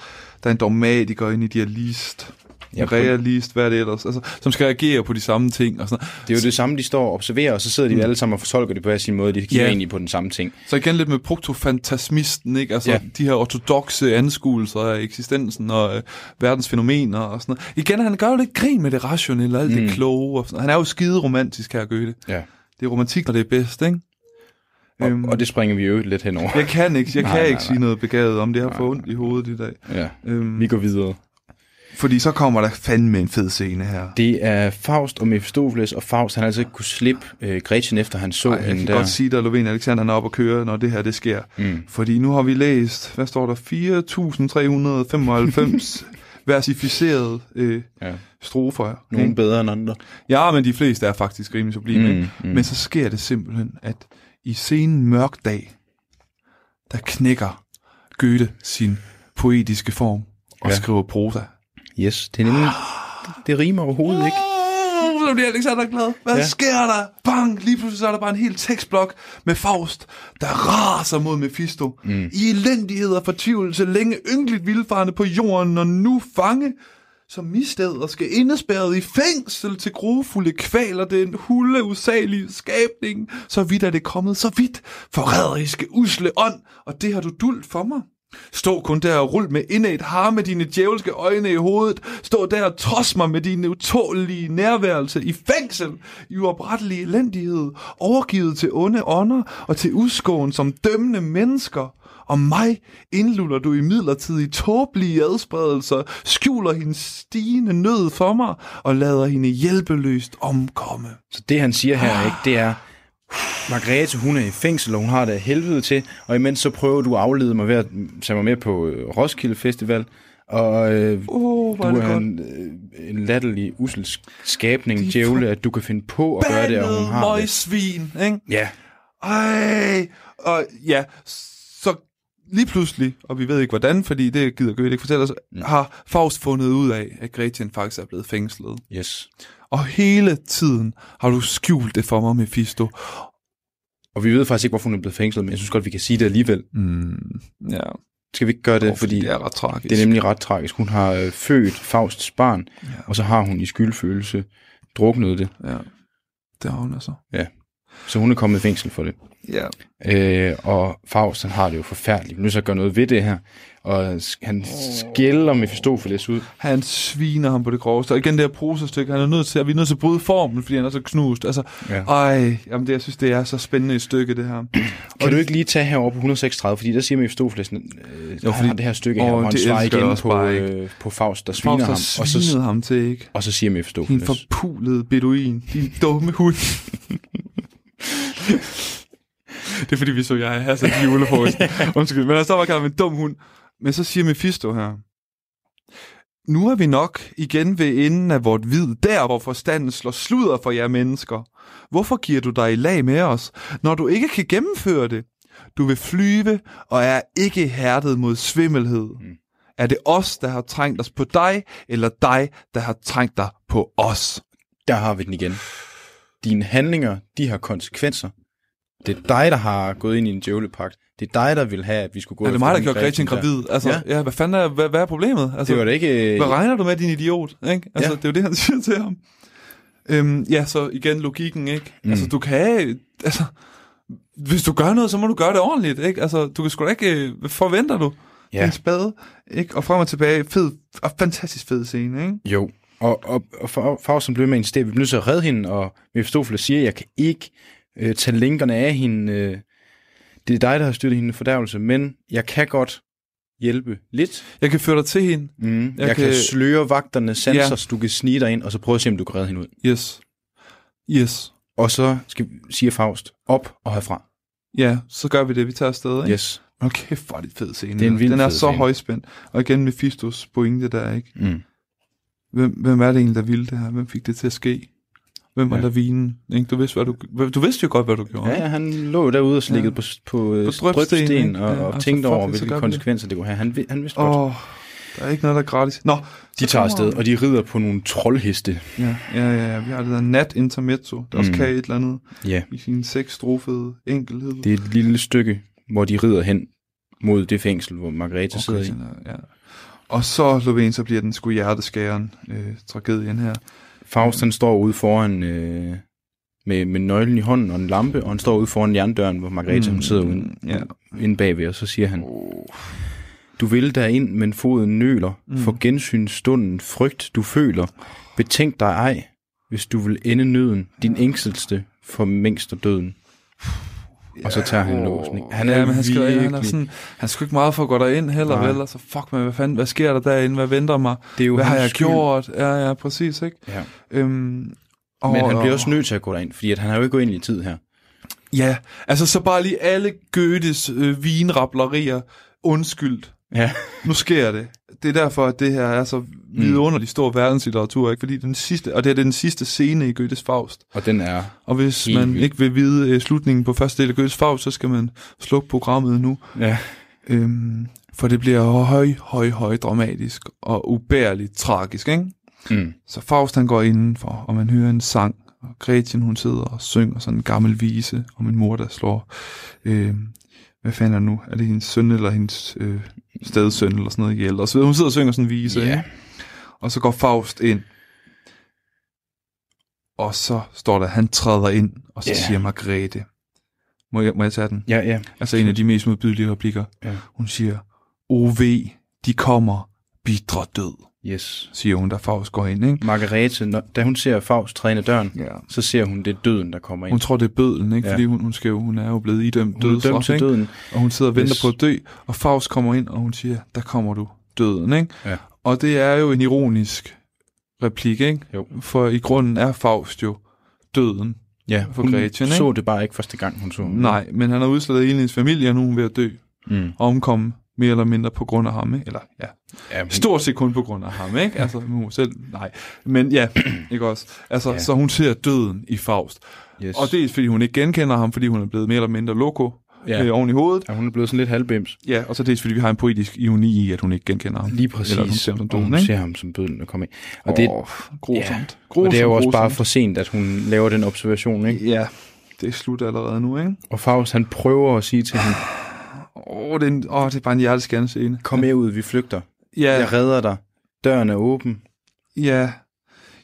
C: der er en dogmatiker, en idealist,
D: Ja,
C: en realist, hvad er det ellers, altså, som skal reagere på de samme ting og sådan noget.
D: Det er jo det samme, de står og observerer, og så sidder de alle sammen og fortolker det på hver sin måde. De kigger
C: Mm. Ja.
D: yeah. egentlig på den samme ting.
C: Så igen lidt med protofantasmisten, ikke? Altså ja.
D: Ja.
C: de her ortodoxe anskuelser af eksistensen og øh, verdens fænomener og sådan noget. Igen, han gør jo lidt grin med det rationelle og alt mm. det kloge. Og sådan. noget. Han er jo skide romantisk her, Goethe.
D: Ja.
C: Det er romantik, når det er bedst, ikke?
D: Og,
C: Øhm.
D: øhm. og det springer vi jo lidt henover.
C: Jeg kan ikke, jeg
D: Nej,
C: kan
D: nej,
C: ikke
D: nej.
C: sige noget begavet om det. Jeg har fået ondt i hovedet i dag.
D: Ja.
C: Øhm,
D: Vi går videre.
C: fordi så kommer der fandme en fed scene her.
D: Det er Faust og Mephistopheles, og Faust han har altså ikke kunne slippe øh, Gretchen, efter han så
C: Ej, jeg
D: hende
C: kan
D: der.
C: godt sige dig, at Lovén Alexander han er oppe at køre, når det her det sker. Mm. Fordi nu har vi læst, hvad står der,
D: *laughs*
C: 4.395 versificerede øh,
D: Ja.
C: strofer.
D: Nogle
C: ikke?
D: bedre end andre.
C: Ja, men de fleste er faktisk rimelig sublime. Mm,
D: Mm,
C: mm.
D: mm.
C: Men så sker det simpelthen, at i sen mørk dag, der knækker Goethe sin poetiske form og
D: Ja.
C: skriver prosa.
D: Yes, det er nemlig...
C: *gasps*
D: Det rimer overhovedet ikke.
C: Oh, så bliver Alexander glad. Hvad
D: Ja.
C: ja. sker der? Bang! Lige pludselig så er der bare en hel tekstblok med Faust, der raser mod Mephisto. Mm. I elendighed og fortvivlelse, længe ynkeligt vildfarende på jorden, og nu fange som misdæder skal indespærret i fængsel til grofulde kvaler den hulde usagelige skabning, så vidt er det kommet, så vidt forræderiske usle ånd, og det har du duldt for mig. Stå kun der og rul med indad har med dine djævelske øjne i hovedet. Stå der og trods mig med din utålige nærværelse i fængsel, i uoprettelig elendighed, overgivet til onde ånder og til uskåen som dømmende mennesker. Og mig indluller du i midlertidige tåbelige adspredelser, skjuler hendes stigende nød for mig og lader hende hjælpeløst omkomme.
D: Så det, han siger her, ikke, det
C: *sighs*
D: er... Margrethe, hun er i fængsel, og hun har det af helvede til, og imens så prøver du at aflede mig ved at tage mig med på øh, Roskilde Festival, og øh,
C: Åh, oh,
D: du
C: hvor er det
D: er
C: godt.
D: en, øh, en latterlig, usel skabning,
C: De er
D: djævle, at du kan finde på at gøre det, og hun
C: Bandet
D: har det.
C: møgsvin, ikke?
D: Ja,
C: Ej, og ja, så lige pludselig, og vi ved ikke hvordan, fordi det gider Goethe ikke fortælle os, har Faust fundet ud af, at Gretchen faktisk er blevet fængslet.
D: yes.
C: Og hele tiden har du skjult det for mig, Mephisto.
D: Og vi ved faktisk ikke, hvorfor hun er blevet fængslet, men jeg synes godt, vi kan sige det alligevel.
C: Mm, ja,
D: Skal vi ikke gøre det,
C: det,
D: fordi
C: det er ret tragisk.
D: det er nemlig ret tragisk. Hun har øh, født Fausts barn, ja. og så har hun i skyldfølelse druknet det,
C: Ja, det har hun altså.
D: så hun er kommet i fængsel for det.
C: Ja.
D: Øh, og Faust, han har det jo forfærdeligt. Vi er nødt til at gøre noget ved det her. Og sk- han skælder Mephistopheles ud.
C: Han sviner ham på det groveste. Og igen det her prosastykke, han er nødt til, at vi er nødt til at bryde formen, fordi han er så knust. Altså,
D: Ja.
C: ja. ej, jamen det, jeg synes, det er så spændende et stykke, det her.
D: Kan du ikke lige tage herover på 136, fordi der siger Mephistopheles, øh, jo, fordi,
C: fordi-
D: har det her stykke her,
C: Åh,
D: hvor han
C: det
D: svarer
C: elsker jeg
D: igen
C: også
D: på,
C: bare
D: øh, på Faust, der sviner
C: Faust
D: ham.
C: har
D: Og så,
C: svinet ham til, ikke?
D: og så siger
C: Din
D: Mephistopheles.
C: forpulede beduin, din dumme hund. det er fordi, vi så jeg har sat *laughs* julefrokost. Undskyld, men altså, var kaldt ham en dum hund. Men så siger Mephisto her. Nu er vi nok igen ved enden af vort vid, der hvor forstanden slår sludder for jer mennesker. Hvorfor giver du dig i lag med os, når du ikke kan gennemføre det? Du vil flyve og er ikke hærdet mod svimmelhed. Er det os, der har trængt os på dig, eller dig, der har trængt dig på os?
D: Der har vi den igen. Dine handlinger, de har konsekvenser. Det er dig, der har gået ind i en djævlepagt. Det er dig, der vil have, at vi skulle gå
C: Er det
D: efter
C: mig, der
D: den
C: gjorde Gretchen gravid? Altså,
D: Ja.
C: ja. ja hvad fanden er, hvad, hvad er problemet? Altså,
D: Det var da ikke...
C: Hvad regner du med, din idiot? Ikke? Altså,
D: Ja.
C: ja. det er jo det, han *laughs* siger til ham. Øhm, ja, så igen logikken, ikke? Mm. Altså, du kan... Altså, hvis du gør noget, så må du gøre det ordentligt, ikke? Altså, du kan sgu da ikke... øh, Hvad forventer du?
D: Ja.
C: Ja. Det er en spade, ikke? Og frem og tilbage, fed, og fantastisk fed scene, ikke?
D: Jo, og, og, og Fa- Faust som blev med en sted, vi bliver nødt til at redde hende, og Mephistopheles siger, jeg kan ikke øh, tage linkerne af hende, øh, det er dig, der har styrtet hende i fordærvelse, men jeg kan godt hjælpe lidt.
C: Jeg kan føre dig til hende.
D: Mm. Jeg, jeg kan... kan
C: kan-
D: sløre vagterne sanser,
C: Ja.
D: så du kan snige dig ind, og så prøve at se, om du kan redde hende ud.
C: Yes. Yes.
D: Og så skal, siger Faust, op og herfra.
C: Ja, så gør vi det. Vi tager afsted, ikke?
D: Yes.
C: Hold kæft, hvor er det en fed scene.
D: Det er en
C: der.
D: vild
C: den er
D: fed
C: så
D: scene.
C: højspændt. Og igen Mephistos pointe der, ikke?
D: Mm.
C: Hvem, hvem er det egentlig, der ville det her? Hvem fik det til at ske? Hvem var
D: Ja.
C: ja. der vinen? Ikke? Du, vidste, hvad du, hvad- du vidste jo godt, hvad du gjorde.
D: Ja, ja, han lå jo derude og slikkede ja.
C: Ja.
D: på, på, øh,
C: På drøbstenen,
D: drøbstenen,
C: ikke?
D: og,
C: Ja,
D: og
C: og så
D: tænkte over,
C: fucking så gør
D: hvilke
C: vi det.
D: konsekvenser det kunne have. Han, vi- han vidste godt.
C: Åh, der er ikke noget, der er gratis. Nå,
D: De
C: så
D: tager
C: kommer-
D: afsted, og de rider på nogle troldheste.
C: Ja, ja, ja, ja. Vi har det der nat intermezzo, der også
D: Mm.
C: kan et eller andet
D: Ja. Yeah.
C: i sin seksstrofede enkelhed.
D: Det er et lille stykke, hvor de rider hen mod det fængsel, hvor Margrethe okay, sidder i.
C: sådan der, ja. Og så, Lovén, så bliver den sgu hjerteskæren øh, tragedien her.
D: Faust han står ude foran øh, med, med nøglen i hånden og en lampe, og han står ude foran jerndøren, hvor Margrethe mm, hun sidder uden,
C: ja.
D: inde bagved, og så siger han, du vil derind, men foden nøler, mm. for gensynsstunden frygt du føler, betænk dig ej, hvis du vil ende nøden, din ængsteste for mængst og døden. Og så tager han låsen. ikke? Han er
C: ja, men han skal,
D: virkelig...
C: han er sådan, han skal ikke meget for at gå derind heller,
D: Nej.
C: vel? Altså, fuck man, hvad fanden, hvad sker der derinde? Hvad venter mig?
D: det er jo
C: Hvad har
D: hans
C: jeg
D: skyld.
C: gjort? Ja, ja, præcis, ikke?
D: Ja.
C: Øhm, og,
D: Men han bliver også nødt til at gå derind, fordi at han har jo ikke gået ind i tid her.
C: Ja, altså så bare lige alle Goethes øh, vinrablerier undskyldt.
D: Ja.
C: Nu sker det. Det er derfor, at det her er så vidunderlig stor verdenslitteratur, ikke? Fordi den sidste, og det her det er den sidste scene i Goethes Faust.
D: Og den er...
C: Og hvis
D: Helt
C: man
D: vildt.
C: ikke vil vide øh, slutningen på første del af Goethes Faust, så skal man slukke programmet nu.
D: Ja.
C: Øhm, for det bliver høj, høj, høj dramatisk og ubærligt tragisk, ikke?
D: Mm.
C: Så Faust han går indenfor, og man hører en sang, og Gretchen hun sidder og synger sådan en gammel vise om en mor, der slår, øh, hvad fanden er det nu, er det hendes søn eller hendes øh, stedsøn eller sådan noget ihjel, og så videre. hun sidder og synger sådan en vise,
D: Ja.
C: yeah. og så går Faust ind, og så står der, han træder ind, og så
D: Ja.
C: yeah. siger Margrethe, må jeg, må jeg tage den?
D: Ja, ja.
C: Altså en af de mest modbydelige replikker.
D: Ja.
C: Hun siger, OV, de kommer, bidre død,
D: Yes.
C: siger hun, da Faust går ind, ikke?
D: Margarete, når, da hun ser Faust træde ind ad døren,
C: Ja.
D: så ser hun, det er døden, der kommer ind.
C: Hun tror, det er bødlen, ikke?
D: Ja.
C: Fordi hun, hun, skal jo, hun er jo blevet idømt
D: hun er dømt
C: dødsstraf,
D: til
C: ikke?
D: døden.
C: Og hun sidder og venter
D: Yes.
C: på at dø, og Faust kommer ind, og hun siger, der kommer du, døden, ikke?
D: Ja.
C: Og det er jo en ironisk replik, ikke?
D: Jo.
C: For i grunden er Faust jo døden.
D: Ja,
C: For
D: hun
C: Gretchen, ikke?
D: så det bare ikke første gang, hun så ham.
C: Nej, men han har udslettet hele hendes familie, og nu er hun ved at dø
D: Mm.
C: og omkomme mere eller mindre på grund af ham, ikke? Eller, ja,
D: Ja, hun,
C: Stort set kun på grund af ham, ikke? Altså, hun selv, nej. Men ja, *clears throat* ikke også? Altså,
D: Ja.
C: ja. så hun ser døden i Faust.
D: yes.
C: Og dels fordi hun ikke genkender ham, fordi hun er blevet mere eller mindre loco
D: Ja.
C: ja. øh, oven i hovedet.
D: ja, hun er blevet sådan lidt halvbims.
C: Ja, og så dels fordi vi har en poetisk ironi i, at hun ikke genkender ham.
D: Lige præcis.
C: Eller hun ser ham som
D: og
C: døden,
D: hun
C: ikke?
D: ser ham som bøden, der kommer ind. Og det,
C: Åh, grusomt.
D: ja. og det er jo også
C: Grusomt,
D: bare
C: grusomt.
D: for sent, at hun laver den observation, ikke?
C: Ja, det er slut allerede nu, ikke?
D: Og Faust, han prøver at sige til hende,
C: Åh, det er, en, åh, det er bare en hjerteskærende scene.
D: kom med ud, vi flygter.
C: Ja,
D: Jeg redder dig. Døren er åben.
C: Ja.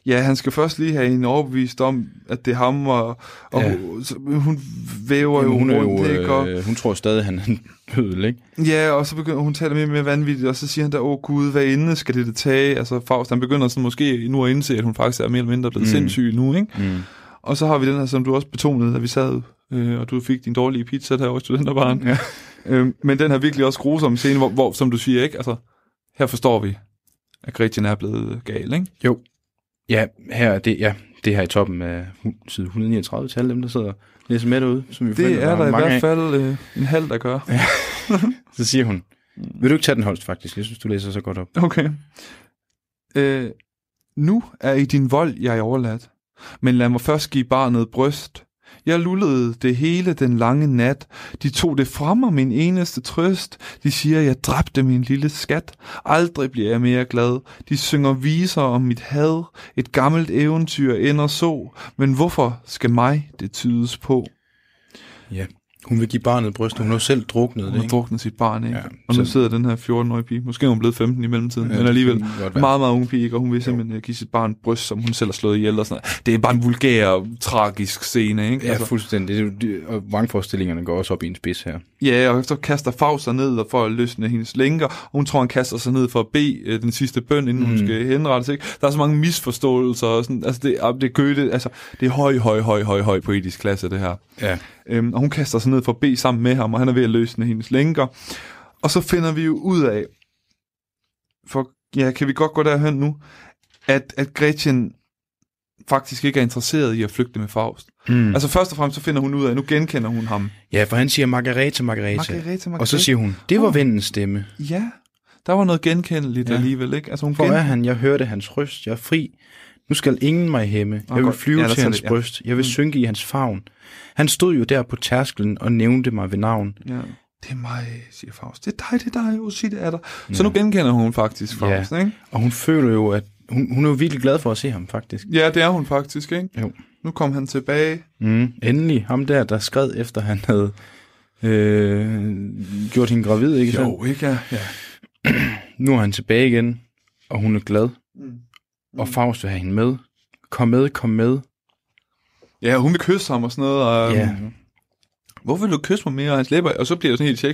C: Ja, han skal først lige have hende overbevist om, at det er ham, og, og
D: Ja.
C: ja. hun væver
D: Jamen,
C: jo
D: hun, er jo,
C: rundt, ikke? Og,
D: øh, hun tror stadig, han er en *laughs* bødel, ikke?
C: ja, og så begynder hun taler mere og mere vanvittigt, og så siger han der, åh gud, hvad ende skal det, det tage? Altså Faust, han begynder sådan måske nu at indse, at hun faktisk er mere eller mindre blevet
D: Mm.
C: mm. sindssyg nu, ikke?
D: Mm.
C: Og så har vi den her, som du også betonede, da vi sad, øh, og du fik din dårlige pizza der over i studenterbaren.
D: Ja.
C: Øhm, men den her virkelig også grusomme scene, hvor, hvor, som du siger, ikke? Altså, her forstår vi, at Gretchen er blevet gal, ikke?
D: Jo. Ja, her er det, ja, det er her i toppen af hu- side 139 til alle dem, der sidder og læser med derude, som vi
C: Det
D: forventer,
C: er der i
D: mange
C: hvert
D: af.
C: fald øh, en halv, der gør.
D: Så siger hun, vil du ikke tage den holst faktisk? Jeg synes, du læser så godt op.
C: Okay. Øh, nu er i din vold jeg overladt, men lad mig først give barnet bryst. Jeg lullede det hele den lange nat. De tog det fra mig, min eneste trøst. De siger, jeg dræbte min lille skat. Aldrig bliver jeg mere glad. De synger viser om mit had. Et gammelt eventyr ender så. Men hvorfor skal mig det tydes på?
D: Ja. Hun vil give barnet bryst, og hun har jo selv druknet
C: Hun
D: det,
C: har
D: ikke?
C: druknet sit barn, ikke?
D: Ja,
C: Ja, og nu
D: så-
C: sidder den her 14-årige pige. Måske er hun blevet 15 i mellemtiden,
D: Ja,
C: ja, men alligevel
D: det kan godt være.
C: meget, meget unge pige, ikke? og hun vil simpelthen øh, give sit barn bryst, som hun selv har slået ihjel og sådan noget. Det er bare en vulgær, og tragisk scene, ikke? Altså,
D: Ja, fuldstændig. Det er jo, det, og vrangforestillingerne går også op i en spids her.
C: ja, og efter kaster Faust sig ned for at løsne hendes lænker, og hun tror, han kaster sig ned for at bede øh, den sidste bøn, inden mm. hun skal henrettes, ikke? Der er så mange misforståelser, og sådan, altså det, ah, det er Goethe, altså det er høj, høj, høj, høj, høj poetisk klasse, det her.
D: Ja.
C: Øhm, og hun kaster sig ned for B sammen med ham, og han er ved at løsne hendes lænker. Og så finder vi jo ud af, for ja, kan vi godt gå derhen nu, at, at Gretchen faktisk ikke er interesseret i at flygte med Faust.
D: Mm.
C: Altså først og fremmest så finder hun ud af, at nu genkender hun ham.
D: Ja, for han siger Margarete, Margarete.
C: Margarete,
D: Og så siger hun, det var vindens stemme.
C: ja, der var noget genkendeligt
D: Ja.
C: ja. alligevel, ikke? Altså hun
D: Hvor er
C: gen...
D: han? Jeg hørte hans røst. Jeg er fri. Nu skal ingen mig hæmme. Jeg vil
C: godt.
D: flyve
C: Ja, der
D: til
C: tager
D: hans
C: det, ja.
D: bryst. Jeg vil synke i hans favn. Han stod jo der på tærskelen og nævnte mig ved navn.
C: ja. Det er mig, siger Faust. Det er dig, det er dig, oh, sig det er dig. Så nu genkender hun faktisk Faust,
D: Ja.
C: ja. ikke?
D: Og hun føler jo, at hun, hun er jo virkelig glad for at se ham, faktisk.
C: Ja, det er hun faktisk, ikke?
D: Jo.
C: Nu kom han tilbage.
D: Mm. Endelig. Ham der, der skred efter, han havde øh, gjort hende gravid, ikke sandt?
C: ikke? Ja. ja.
D: Nu er han tilbage igen, og hun er glad. Mm. Og Faust vil have hende med. Kom med, kom med.
C: Ja, hun vil kysse ham og sådan noget. Og, øhm,
D: Ja.
C: Hvorfor vil du kysse mig mere? Og hans læber, og så bliver det sådan helt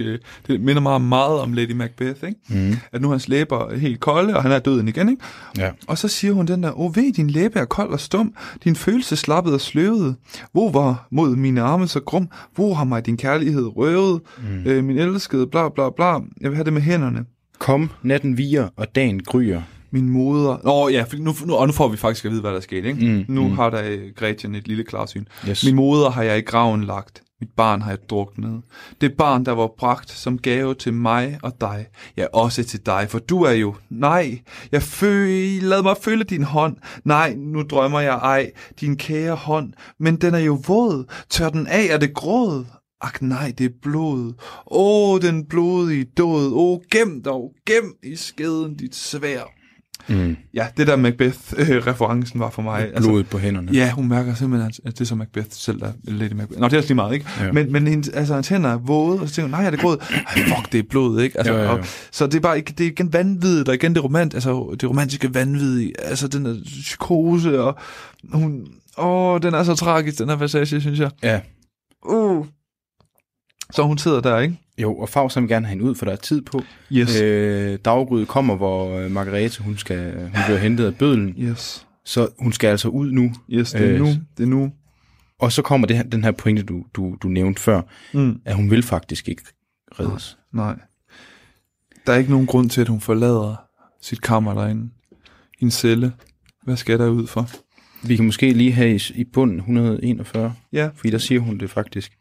C: Shakespeare'sk. øh, Det minder meget, meget om Lady Macbeth, ikke?
D: Mm.
C: At nu er hans læber er helt kolde, og han er døden igen, ikke?
D: Ja.
C: Og så siger hun den der, Åh, ved, din læbe er kold og stum, din følelse slappet og sløvet. Hvor var mod mine arme så grum? Hvor har mig din kærlighed røvet? Mm. Øh, min elskede, bla bla bla. Jeg vil have det med hænderne.
D: Kom, natten viger, og dagen gryer.
C: Min moder... Nå ja, fordi nu, nu, og nu får vi faktisk at vide, hvad der skete, ikke?
D: Mm,
C: nu har der øh, Gretchen et lille klarsyn.
D: Yes.
C: Min moder har jeg i graven lagt. Mit barn har jeg druknet. Det barn, der var bragt som gave til mig og dig. Ja, også til dig, for du er jo... Nej, jeg føl... lad mig føle din hånd. Nej, nu drømmer jeg ej. Din kære hånd. Men den er jo våd. Tør den af, er det gråd? Ak nej, det er blod. Åh, den blodige død. Åh, gem dog, gem i skeden dit svær.
D: Mm.
C: Ja, det der Macbeth-referencen var for mig. Altså,
D: Blodet på hænderne.
C: Ja, hun mærker simpelthen, at det er så Macbeth selv, der er Lady Macbeth. Nå, det er også lige meget, ikke?
D: Ja.
C: Ja. Men, men hendes, altså, hans hænder er våde, og så tænker hun, nej, er det gråd? Ej, fuck, det er blod, ikke? Altså,
D: Jo, jo, jo.
C: Og, så det er bare ikke, det er igen vanvittigt, og igen det, romant, altså, det romantiske vanvid, altså den der psykose, og hun, åh, den er så tragisk, den her passage, synes jeg.
D: ja.
C: Uh. Så hun sidder der, ikke?
D: Jo, og Favs vil gerne have hende ud, for der er tid på.
C: Yes.
D: Øh, daggryet kommer, hvor øh, Margarete, hun, skal, hun bliver hentet af bødlen.
C: Yes.
D: Så hun skal altså ud nu.
C: Yes, det er
D: Øh,
C: nu. Det er nu.
D: Og så kommer det her, den her pointe, du, du, du nævnte før,
C: Mm.
D: at hun vil faktisk ikke reddes.
C: Nej. Der er ikke nogen grund til, at hun forlader sit kammer derinde. Hendes celle. Hvad skal der ud for?
D: Vi kan måske lige have i, i bunden 141,
C: Ja.
D: fordi der siger hun det faktisk.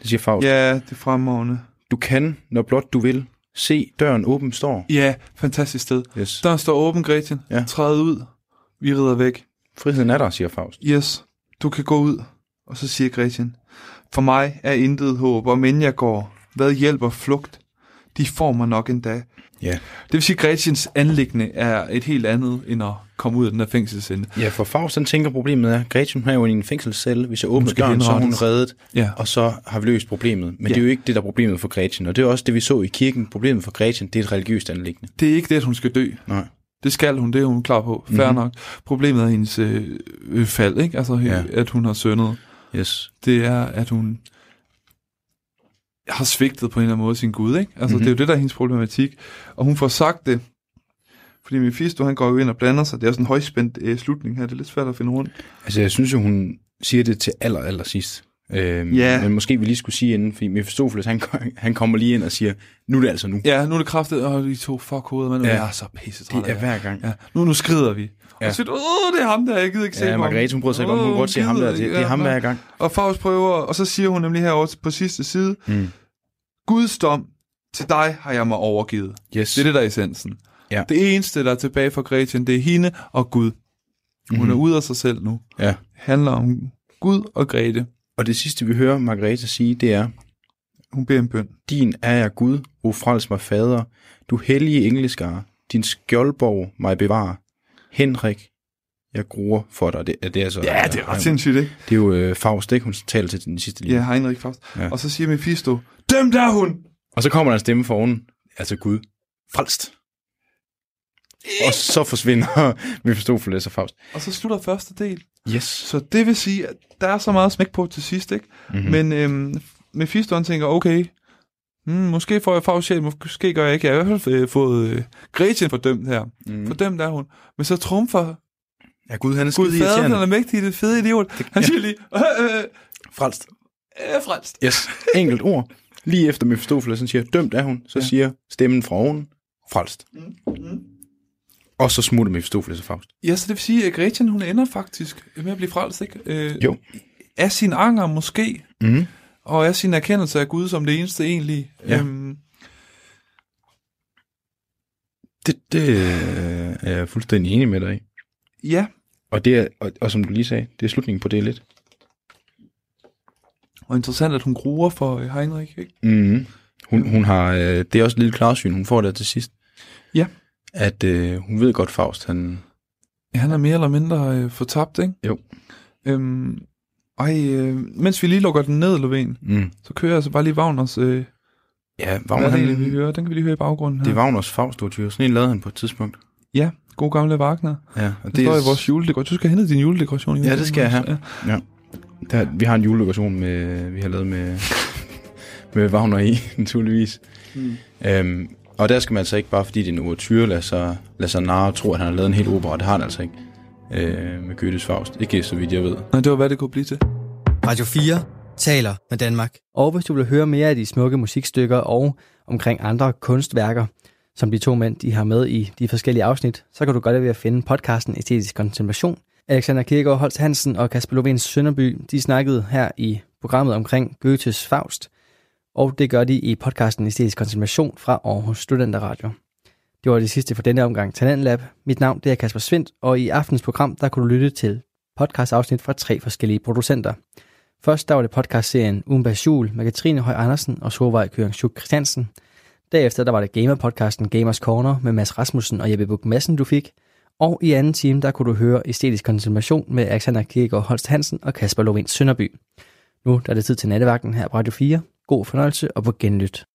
D: Det siger Favs.
C: Ja, det er fremragende.
D: Du kan, når blot du vil, se døren åben står.
C: Ja, fantastisk sted.
D: Yes.
C: Døren står åben, Gretchen.
D: Ja.
C: Træd ud. Vi rider væk.
D: Friheden er der, siger Faust.
C: Yes, du kan gå ud. Og så siger Gretchen, for mig er intet håb, om end jeg går. Hvad hjælper flugt? De får mig nok en dag.
D: Ja.
C: Det vil sige, at Gretchens anlæggende er et helt andet, end at komme ud af den der fængselsende.
D: Ja, for Faust, han tænker, problemet er, Gretchen hun er jo i en fængselscelle. Hvis jeg åbner
C: skal
D: døren, så er hun
C: henrettes.
D: reddet,
C: Ja.
D: og så har vi løst problemet. Men ja.
C: Ja.
D: det er jo ikke det, der er problemet for Gretchen. Og det er også det, vi så i kirken. Problemet for Gretchen, det er et religiøst anlæggende.
C: Det er ikke det, at hun skal dø.
D: Nej. Mhm.
C: Det skal hun, det er hun klar på. Færre mm-hmm. nok. Problemet er hendes øh, øh, fald, ikke? Altså,
D: Ja.
C: ja. at hun har søndet.
D: Yes.
C: det er, at hun har svigtet på en eller anden måde sin Gud, ikke? Altså,
D: Mhm.
C: mm-hmm. det er jo det, der er hendes problematik. Og hun får sagt det, fordi Mephisto, han går jo ind og blander sig. Det er jo sådan en højspændt øh, slutning her. Det er lidt svært at finde rundt.
D: Altså, jeg synes jo, hun siger det til aller, aller sidst. Øhm,
C: Ja.
D: Men måske vi lige skulle sige inden, fordi Mephistopheles, han, han kommer lige ind og siger, nu er det altså nu.
C: Ja, nu er det kraftet, og de to fuck hovedet, men
D: Ja.
C: ja. jeg er så pisse træt
D: Det er hver gang.
C: Ja, nu, nu skrider vi.
D: Ja.
C: Ja. Og så siger, du, åh, det er ham der, jeg gider ikke se
D: Ja,
C: ham.
D: Margrethe, hun prøver sig ikke om, hun kan
C: Åh,
D: godt se ham
C: gider
D: der. Det,
C: ikke.
D: det er
C: Ja,
D: ham
C: nej.
D: hver gang.
C: Og Faust prøver, og så siger hun nemlig herovre på sidste side,
D: Mm.
C: Guds dom, til dig har jeg mig overgivet.
D: Yes.
C: Det er det, der er essensen.
D: Ja.
C: Det eneste, der er tilbage for Gretchen, det er hende og Gud. Hun mm-hmm. er ude af sig selv nu.
D: Ja.
C: Det handler om Gud og Grete.
D: Og det sidste, vi hører Margrethe sige, det er,
C: Hun beder en bøn.
D: Din er jeg Gud, o frels mig fader, du hellige engleskare, din skjoldborg mig bevare. Henrik, jeg gruer for dig. Det, er det er altså,
C: Ja, det er ret sindssygt, ikke?
D: Det er jo øh, Faust, ikke? Hun taler til den sidste linje.
C: Ja, Heinrich Faust.
D: Ja.
C: Ja. Og så siger Mephisto, dem der er hun!
D: Og så kommer der en stemme for oven, altså Gud, frelst. Og så forsvinder *laughs* Mephistopheles og Faust.
C: Og så slutter første del.
D: Yes.
C: Så det vil sige, at der er så meget smæk på til sidst, ikke?
D: Mhm.
C: Mm-hmm. Men øhm, Mephisto han tænker, okay, hmm, måske får jeg Faust sjæl, måske gør jeg ikke. Jeg har i hvert fald øh, fået øh, Gretchen fordømt her.
D: Mhm.
C: Mm. Fordømt er hun. Men så trumfer
D: Ja, Gud, han er
C: Gud
D: skide
C: fader, han er
D: irriterende.
C: mægtig, det fede idiot. Han siger lige, øh, øh,
D: Frelst.
C: øh, frelst.
D: Yes, *laughs* enkelt ord. Lige efter Mephistopheles han siger, dømt er hun, så ja. siger stemmen fra oven, frelst. Mm. Mm. Og så smutter Mephistopheles og Faust.
C: Ja, så det vil sige, at Gretchen, hun ender faktisk med at blive frelst, ikke? Øh,
D: Jo.
C: Af sin anger måske,
D: Mm.
C: og af sin erkendelse af Gud som det eneste egentlig.
D: Ja.
C: Øhm,
D: Det, det øh, er jeg fuldstændig enig med dig i.
C: ja,
D: Og, det er, og, og som du lige sagde, det er slutningen på det lidt.
C: og interessant, at hun gruer for øh, Heinrich, ikke?
D: Mm. Hun, hun har, øh, det er også et lille klarsyn, hun får der til sidst.
C: Ja.
D: At øh, hun ved godt, Faust, han...
C: Ja, Han er mere eller mindre øh, fortabt, ikke?
D: Jo.
C: Øhm, ej, øh, mens vi lige lukker den ned, Lovén,
D: Mm.
C: så kører jeg altså bare lige Wagners... Øh,
D: Ja,
C: hvad
D: Wagner,
C: er det,
D: han,
C: egentlig, vi hører? Den kan vi lige høre i baggrunden her.
D: det er Wagners Faust, du Sådan en lavede han på et tidspunkt.
C: Ja, god gamle Wagner.
D: Ja, og
C: Det står i vores juledekoration. Du skal have hentet din juledekoration. i
D: Ja, det skal jeg
C: juledekorationen.
D: Ja. Der, vi har en juledekoration, med, vi har lavet med, med Wagner i, naturligvis. Mm. Øhm, og der skal man altså ikke, bare fordi det er en ouverture, lade sig, lade sig narre og tro, at han har lavet en hel opera. Det har han altså ikke øh, med Goethes Faust. Ikke så vidt jeg ved.
C: Ja. Nej, det var, hvad det kunne blive til.
A: Radio 4 taler med Danmark. Og hvis du vil høre mere af de smukke musikstykker og omkring andre kunstværker, som de to mænd de har med i de forskellige afsnit, så kan du godt være ved at finde podcasten Æstetisk Kontemplation. Alexander Kirkegaard Holst Hansen og Kasper Lovén Sønderby, de snakkede her i programmet omkring Goethes Faust, og det gør de i podcasten Æstetisk Kontemplation fra Aarhus Studenter Radio. Det var det sidste for denne omgang Talentlab. Mit navn det er Kasper Svendt, og i aftens program der kunne du lytte til podcastafsnit fra tre forskellige producenter. Først der var det podcastserien Ugen bag Jul med Katrine Høj Andersen og Solvej Køring Schuch Christiansen. Derefter der var det gamerpodcasten Gamers Corner med Mads Rasmussen og Jeppe Buk Madsen, du fik. Og i anden time, der kunne du høre æstetisk konsultation med Alexander Kirkegaard Holst Hansen og Kasper Lovén Sønderby. Nu der er det tid til nattevagten her på Radio 4. God fornøjelse og på genlyt.